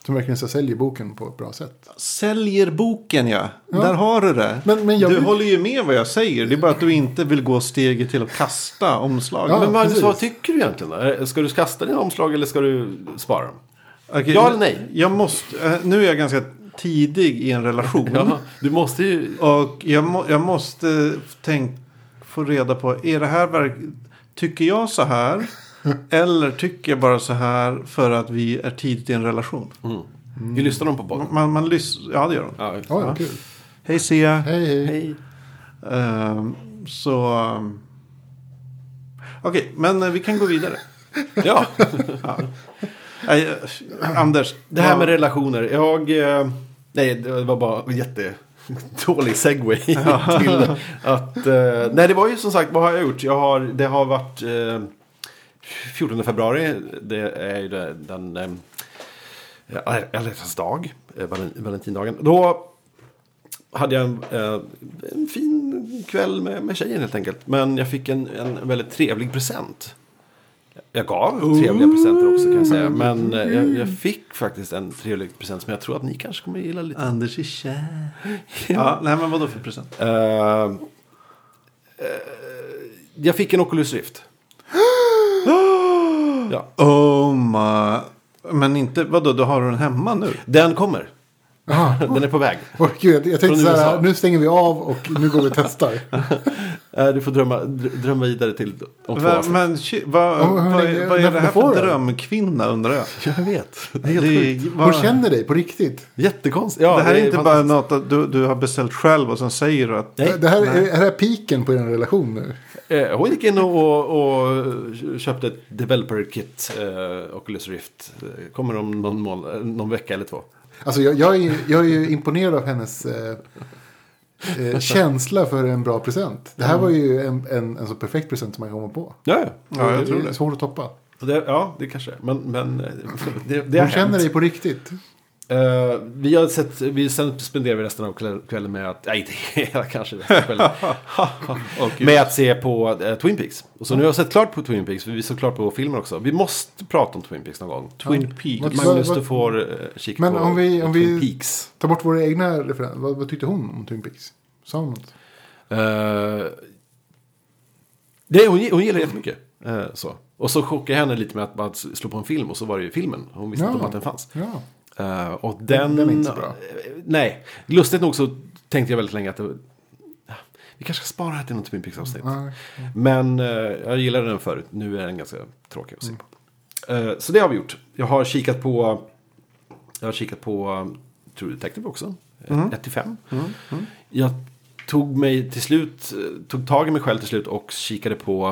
C: Som verkligen så här säljer boken på ett bra sätt.
B: Säljer boken ja. Där har du det.
C: Men- men jag
B: du
C: vill-
B: håller ju med vad jag säger. Det är bara att du inte vill gå steget till att kasta omslaget.
C: Ja.
B: Men
A: Men Magnus,
C: precis.
A: vad tycker du egentligen? då? Ska du kasta dina omslag eller ska du spara dem?
B: Okej,
A: Ja eller nej?
B: Jag måste, eh, nu är jag ganska tidig i en relation.
A: Ja, Mm. du måste ju...
B: Och jag, må, jag måste tänk, få reda på, är det här verk, tycker jag så
C: [laughs]
B: här? eller tycker jag bara så här för att vi är tidigt i en relation?
A: Mm. Lyssnar de på podden?
B: Man, man lyssnar, ja det gör de.
A: Ja,
C: Ja, ja. kul.
B: Hej Sia.
C: Hej, hej.
A: Hej.
B: Ehm, så... ehm, Okej, men eh, vi kan gå vidare.
A: Ja,
B: Nej, eh, Anders.
A: det här
B: vad-
A: med relationer. Jag... eh, Nej, det var bara en jättedålig segway till att... eh, Nej, det var ju som sagt, vad har jag gjort? Jag har, det har varit... eh, 14 februari, det är ju det- den... eh, Alla hjärtans dag, eh, valen- Valentindagen. Då hade jag en, eh, en fin kväll med, med tjejen helt enkelt. Men jag fick en, en väldigt trevlig present. Jag gav trevliga presenter också kan jag säga. Men eh,
B: Mm.
A: jag, jag fick faktiskt en trevlig present som jag tror att ni kanske kommer gilla lite.
B: Anders är kär. ja, nej men vadå för present?
A: Eh, eh, jag fick en Oculus
B: [gasps]
A: Rift. ja.
B: Oh my... Men inte, vadå, då har du den hemma nu?
A: Den kommer. Den är på väg.
C: Åh, gud, jag, jag tänkte
A: Från
C: så
A: USA.
C: här, nu stänger vi av och nu går vi och testar.
B: [laughs]
A: Eh, Du får drömma, dr- drömma vidare till om två
B: Va,
A: avsnitt.
B: men shit, vad,
C: Ja, hur
B: vad,
C: länge-
B: vad är
C: när
B: det här
C: får
B: för
C: den?
B: drömkvinna undrar jag?
A: Jag vet.
B: Det är,
C: Hon
B: vad,
C: känner dig på riktigt.
A: Jättekonstigt. Ja,
B: det här är inte bara
A: fantastiskt.
B: något att du, du har beställt själv och sen säger du att...
A: Nej.
C: Det här är, är det här piken på er relation nu.
A: Eh, hon gick in och, och, och köpte ett developer kit, eh, Oculus Rift. Eh, Kommer om någon, mån, eh, någon vecka eller två.
C: Alltså jag, jag, är, ju- jag är ju imponerad av hennes eh, eh, känsla för en bra present. Det här
B: Mm.
C: var ju en, en, en så perfekt present som man kan komma på.
A: Ja, ja.
B: Ja, jag tror
C: är
B: det.
C: Svårt att toppa.
A: Så Det, ja, det kanske är. Men, men eh, det, det har
C: Hon känner
A: hänt.
C: dig på riktigt.
A: Eh, vi har sett, vi, sen spenderar vi resten av kväll- kvällen med att, nej inte [laughs] hela kanske resten av
C: [laughs]
A: kvällen. med att se på eh, Twin Peaks. Och så nu har jag sett klart på Twin Peaks, för vi såg klart på filmen också. Vi måste prata om Twin Peaks någon gång.
B: Twin Peaks.
C: Vad-
A: Magnus,
C: vad-
A: du får eh, kika
C: Men
A: på
C: om vi- om
A: Twin
C: vi-
A: Peaks.
C: Ta bort våra egna referenser. Vad, vad tyckte hon om Twin Peaks? Sa hon något?
A: Eh, det, hon, hon gillar det jättemycket. Eh, så. Och så chockade jag henne lite med att bara slå på en film och så var det ju filmen. Hon visste inte om
C: Ja.
A: att den fanns.
C: Ja.
A: Eh, och den...
C: den är inte så bra.
A: eh, nej, lustigt nog så tänkte jag väldigt länge att det, ja, vi kanske ska spara det här till något Twin Peaks-avsnitt.
C: Ja.
A: Men eh, jag gillade den förut. Nu är den ganska tråkig att se
C: Mm.
A: på. Eh, så det har vi gjort. Jag har kikat på... Jag har kikat på um, True Detective också. Eh,
C: Mm.
A: 1-5. Jag tog mig till slut... eh, Tog tag i mig själv till slut och kikade på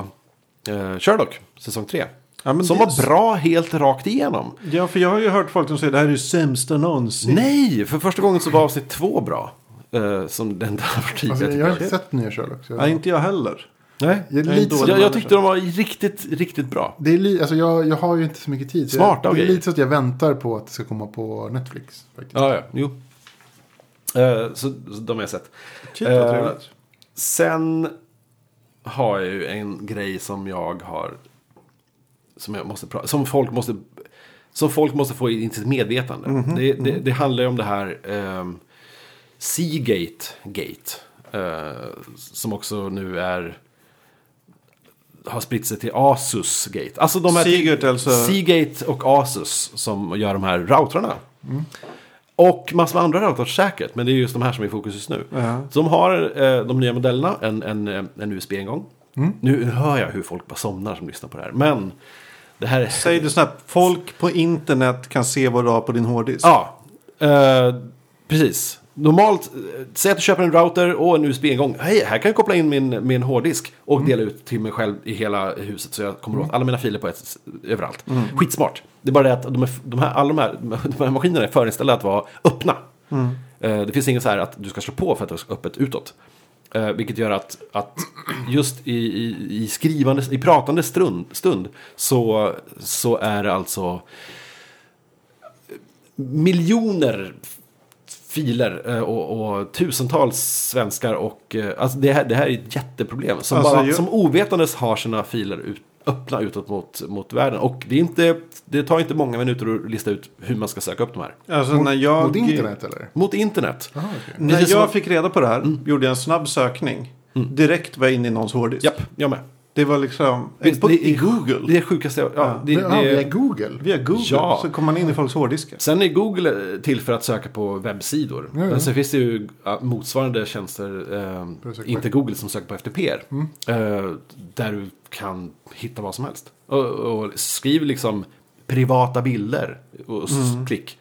A: eh, Sherlock, säsong 3.
B: Ja, men
A: som
B: det-
A: var bra helt rakt igenom.
B: Ja, för jag har ju hört folk som säger det här är ju sämsta någonsin.
A: Nej, för första gången så var avsnitt två bra. Eh, som [laughs] den där har varit tidigare.
C: Alltså, jag
A: tycker
C: har
A: jag.
C: inte sett nya Sherlock. Så
B: Nej,
C: jag,
B: inte jag heller.
A: Nej,
C: jag är
B: jag är
C: lite
B: dålig.
C: så,
A: jag, jag tyckte de var riktigt, riktigt bra.
C: det är li, alltså jag, jag har ju inte så mycket tid. så
A: Smarta
C: jag, Det är
A: grejer.
C: lite så att jag väntar på att det ska komma på Netflix. Faktiskt.
A: Ja, ja, jo. Eh, så, så de har jag sett.
B: Shit, vad
A: Eh,
B: trevligt.
A: Sen har jag ju en grej som jag har... Som, jag måste, pra- som, folk, måste, som folk måste få in i sitt medvetande.
B: Mhm,
A: det, det, det handlar ju om det här ehm, Seagate Gate. eh, som också nu är... Har spritt sig till Asus Gate. Alltså de här
B: Seagate, alltså-
A: Seagate och Asus som gör de här routrarna.
B: Mm.
A: Och massor med andra routrar säkert, men det är just de här som är i fokus just nu.
B: Ja.
A: Så de har eh, de nya modellerna, en, en, eh, en USB-ingång. Nu hör jag hur folk bara somnar som lyssnar på det här, men det här är...
B: Säg det snabbt. Folk på internet kan se vad du har på din hårddisk.
A: Ja, eh, precis. Normalt, eh, säg att du köper en router och en USB-ingång. Hej, här kan jag koppla in min, min hårddisk och dela ut till mig själv i hela huset. Så jag kommer åt alla mina filer på ett, överallt. Skitsmart. Det är bara det att de, är, f- de här, alla de här, de här maskinerna är förinställda att vara öppna. Eh, Det finns inget så här att du ska slå på för att det ska vara öppet utåt. Eh, Vilket gör att, att just i, i, i skrivande, i pratande stund, stund så, så är det alltså miljoner filer eh, och, och tusentals svenskar och eh, alltså det, här, det här är ett jätteproblem som,
B: Alltså,
A: bara,
B: ju-
A: som ovetandes har sina filer ut, öppna utåt mot, mot världen och det, är inte, det tar inte många minuter att lista ut hur man ska söka upp de här.
B: Alltså när jag...
C: Mot internet eller?
A: Mot internet.
C: Jaha, okej.
A: Det
B: När
A: känns som
B: jag
A: att- Mm.
B: fick reda på det här gjorde jag en snabb sökning. Direkt var jag inne i någons hårddisk.
A: Japp, jag med.
B: Det var liksom
A: Visst,
B: på,
A: det är-
B: i Google.
A: Det är sjukaste jag... Ja, det,
C: Ja,
A: det,
C: via Google.
B: Via Google
A: Ja.
B: så kom man in i folks hårddiskar.
A: Sen är Google till för att söka på webbsidor.
C: ja.
A: Men sen finns det ju ja, motsvarande tjänster, eh,
C: söka på- Mm.
A: inte Google, som söker på FTPR. Eh, där du kan hitta vad som helst. Och, och skriv liksom privata bilder och s-
C: Mm.
A: klick.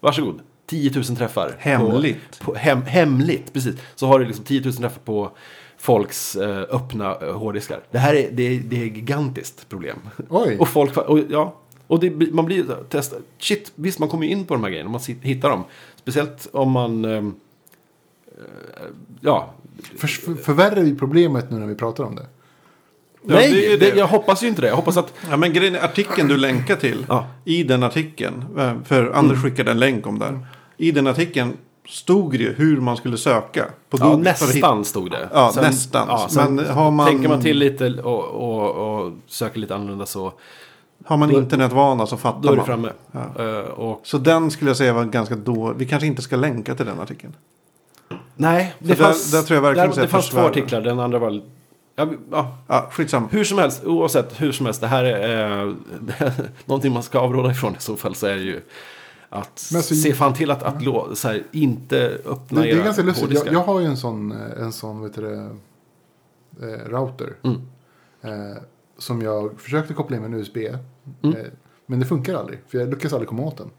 A: Varsågod, 10 000 träffar.
B: Hemligt.
A: På, på, hem, hemligt, precis. Så har du liksom 10 000 träffar på folks eh, öppna eh, hårddiskar. Det här är, det är, det är ett gigantiskt problem.
C: Oj.
A: Och folk, och, ja. Och det, blir- man blir ju så här, testa. Shit, visst man kommer ju in på de här grejerna. Man sit- hittar dem. Speciellt om man... ehm, eh, ja.
C: För, för, förvärrar vi problemet nu när vi pratar om det?
A: Nej,
B: det är ju
A: det,
B: det.
A: jag hoppas ju inte det. Jag hoppas att...
B: Ja, men grejen är, artikeln du länkar till.
A: Ja. Mm.
B: I den artikeln. eh, För Anders skickade en länk om det här. I den artikeln stod det ju hur man skulle söka på Google.
A: Ja,
B: för att hitta-
A: nästan stod det.
B: Ja, nästan.
A: Ja, sen
B: Men har man-
A: Tänker man till lite och, och, och söker lite annorlunda så...
B: Har man internetvana så fattar
A: Då är det
B: man.
A: framme.
B: Ja.
A: Eh, och
B: Så den skulle jag säga var ganska dålig. Vi kanske inte ska länka till den artikeln.
A: Nej, det
B: där-
A: fanns,
B: där tror jag verkligen
A: där,
B: så
A: det
B: jag
A: fanns två
B: försvär.
A: artiklar. Den andra var... Ja, ja,
B: Ja, skitsamma.
A: hur som helst, oavsett, hur som helst, det här är eh, [laughs] någonting man ska avråda ifrån i så fall så är det ju att
C: Men alltså-
A: se fan till att, att lå, så här, inte
C: Det,
A: öppna
C: det
A: era
C: är ganska lustigt. Jag,
A: hårddiskar.
C: jag har ju en sån, eh, en sån vet du, det, eh, router.
A: Mm.
C: Eh, som jag försökte koppla in med en USB.
A: Mm.
C: Eh, men det funkar aldrig. För jag lyckas aldrig komma åt den.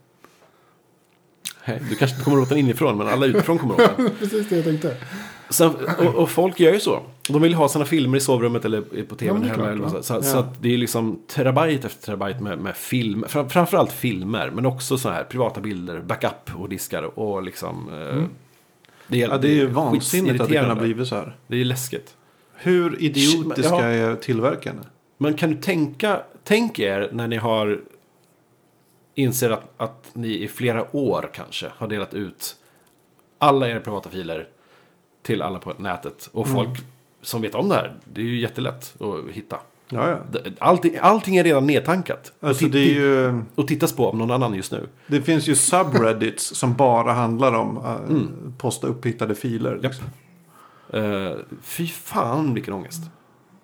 A: Nej, Du kanske inte kommer åt den inifrån, men alla utifrån kommer åt den.
C: Precis det jag tänkte.
A: Sen, och, och folk gör ju så. De vill ha sina filmer i sovrummet eller på tvn
C: men det är
A: hemma.
C: klart,
A: eller vad
C: ja.
A: så så, så att det är liksom terabyte efter terabyte med, med film. Fram, framförallt filmer, men också så här privata bilder, backup och diskar och liksom... eh, Det,
B: Mm. Ja, det är ju vansinnigt att det kan ha
A: skitirriterande.
B: blivit så här.
A: Det är läskigt.
B: Hur idiotiska
A: Ja.
B: är tillverkarna?
A: Men kan du tänka, tänk er när ni har inser att, att ni i flera år kanske har delat ut alla era privata filer till alla på nätet.
B: Mm.
A: Och folk som vet om det här, det är ju jättelätt att hitta.
B: Ja, ja.
A: Allting, allting är redan nedtankat.
B: Alltså
A: och,
B: det är ju...
A: och tittas på av någon annan just nu.
B: Det finns ju subreddits som bara handlar om att posta upphittade filer. liksom.
A: Japp. Eh, fy fan vilken ångest.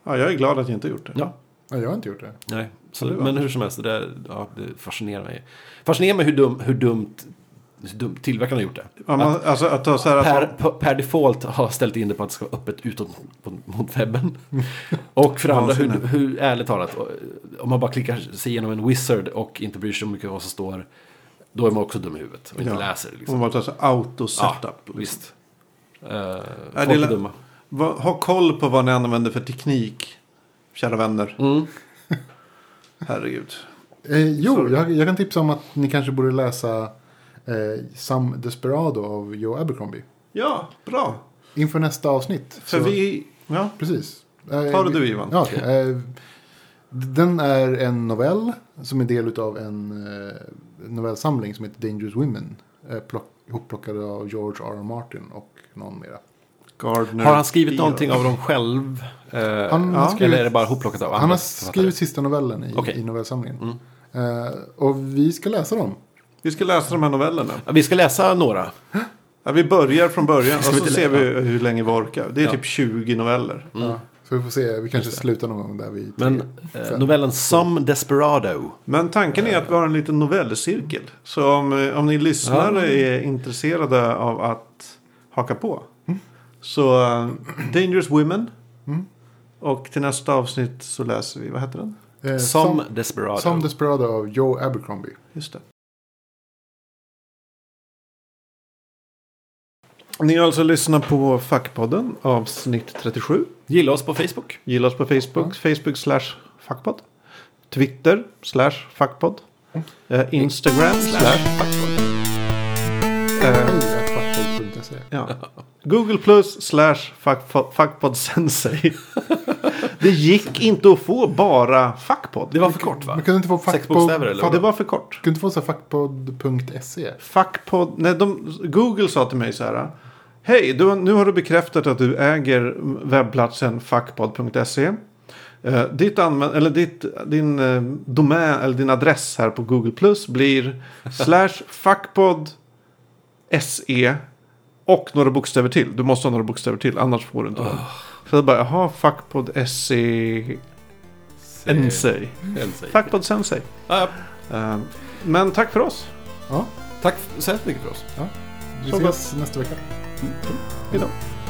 B: Ja, jag är glad att jag inte gjort det.
A: Ja.
C: Ja, jag har inte gjort det.
A: Nej, så,
B: Ja, det var
A: men hur som helst, det, där, ja, det fascinerar mig. Fascinerar mig hur, dum, hur dumt, hur dumt tillverkarna har gjort det.
B: Ja, man, alltså att ta så här
A: Per,
B: att
A: per, per default har ställt in det på att det ska vara öppet utåt mot- mot webben. Och för det andra, hur,
B: Vansinne.
A: hur ärligt talat, om man bara klickar sig igenom en wizard och inte bryr sig om mycket vad som står, då är man också dum i huvudet och inte
B: Ja.
A: läser det.
B: man
A: Liksom.
B: bara tar så här
A: Ja,
B: auto-setup.
A: visst. Uh,
B: det
A: folk är
B: lä-
A: dumma.
B: Va- Ha koll på vad ni använder för teknik, kära vänner.
A: Mm.
B: Herregud.
C: Eh, jo, jag, jag kan tipsa om att ni kanske borde läsa eh, Some Desperado av Joe Abercrombie.
B: Ja, bra.
C: Inför nästa avsnitt.
B: För
C: så-
B: vi... Ja,
C: Precis. Eh,
B: Ta det du, Ivan.
C: Ja, okej. Eh, Den är en novell som är del av en eh, novellsamling som heter Dangerous Women. eh, Plock, ihopplockad av George R. R. Martin och någon mera.
B: Gardner.
A: Har han skrivit
B: Hill.
A: någonting av dem själv? Eh,
C: Han har skrivit-
A: eller är det bara hopplockat av
C: Han
A: andra
C: har
A: författare?
C: skrivit sista novellen i,
A: Okej.
C: i
B: Mm.
C: novellsamlingen. Eh, och vi ska läsa dem.
B: Vi ska läsa de här novellerna.
A: Ja, Vi ska läsa några.
B: Ja, vi börjar från början och
A: vi
B: så
A: inte
B: ser
A: lä-
B: vi hur länge vi orkar. Det är typ 20 noveller.
C: Ja, så vi får se, vi kanske slutar någon gång där vi...
A: Mm. Men eh, novellen Some Desperado.
B: Men tanken är att vi har en liten novellcirkel. Så om, eh, om ni lyssnare är intresserade av att haka på.
A: Mm.
B: Så eh, Dangerous Women. Och till nästa avsnitt så läser vi, vad heter den?
C: Eh,
A: Some
C: Some,
A: Desperado.
C: Some Desperado av Joe Abercrombie.
B: Just det. Ni har alltså lyssnat på Fackpodden avsnitt 37.
A: Gilla oss på Facebook.
B: Gilla oss på Facebook. Facebook slash fackpodd. Twitter slash fackpodd.
A: Mm.
B: Eh, Instagram slash fackpodd. Eh,
C: Fackpodd.se.
B: ja. Google plus slash fackpo-
A: [laughs]
B: fackpodd sensei. Det gick inte att få bara fackpodd.
A: Det var för kort va?
C: Man kunde inte få
A: Sex
C: fackpodd-
A: bokstäver eller?
B: Ja,
A: vad?
B: det var för kort.
C: Kunde inte få så här fackpodd.se.
B: Fackpodd. Nej, de, Google sa till mig så här. Hej, du, har- nu har du bekräftat att du äger webbplatsen fackpodd.se. Eh, ditt använ- eller ditt, din eh, domän eller din adress här på Google Plus blir slash fackpodd se och några bokstäver till. Du måste ha några bokstäver till annars får du inte den. Så jag bara, jaha, fackpodd se ensei.
A: Ensei.
B: Fackpodd sensei.
A: Ja, ja.
B: Eh, men tack för oss.
C: Ja,
A: Tack så Mm. hemskt mycket för oss.
C: vi
B: Så
C: ses nästa vecka.
B: Hejdå.
C: Hej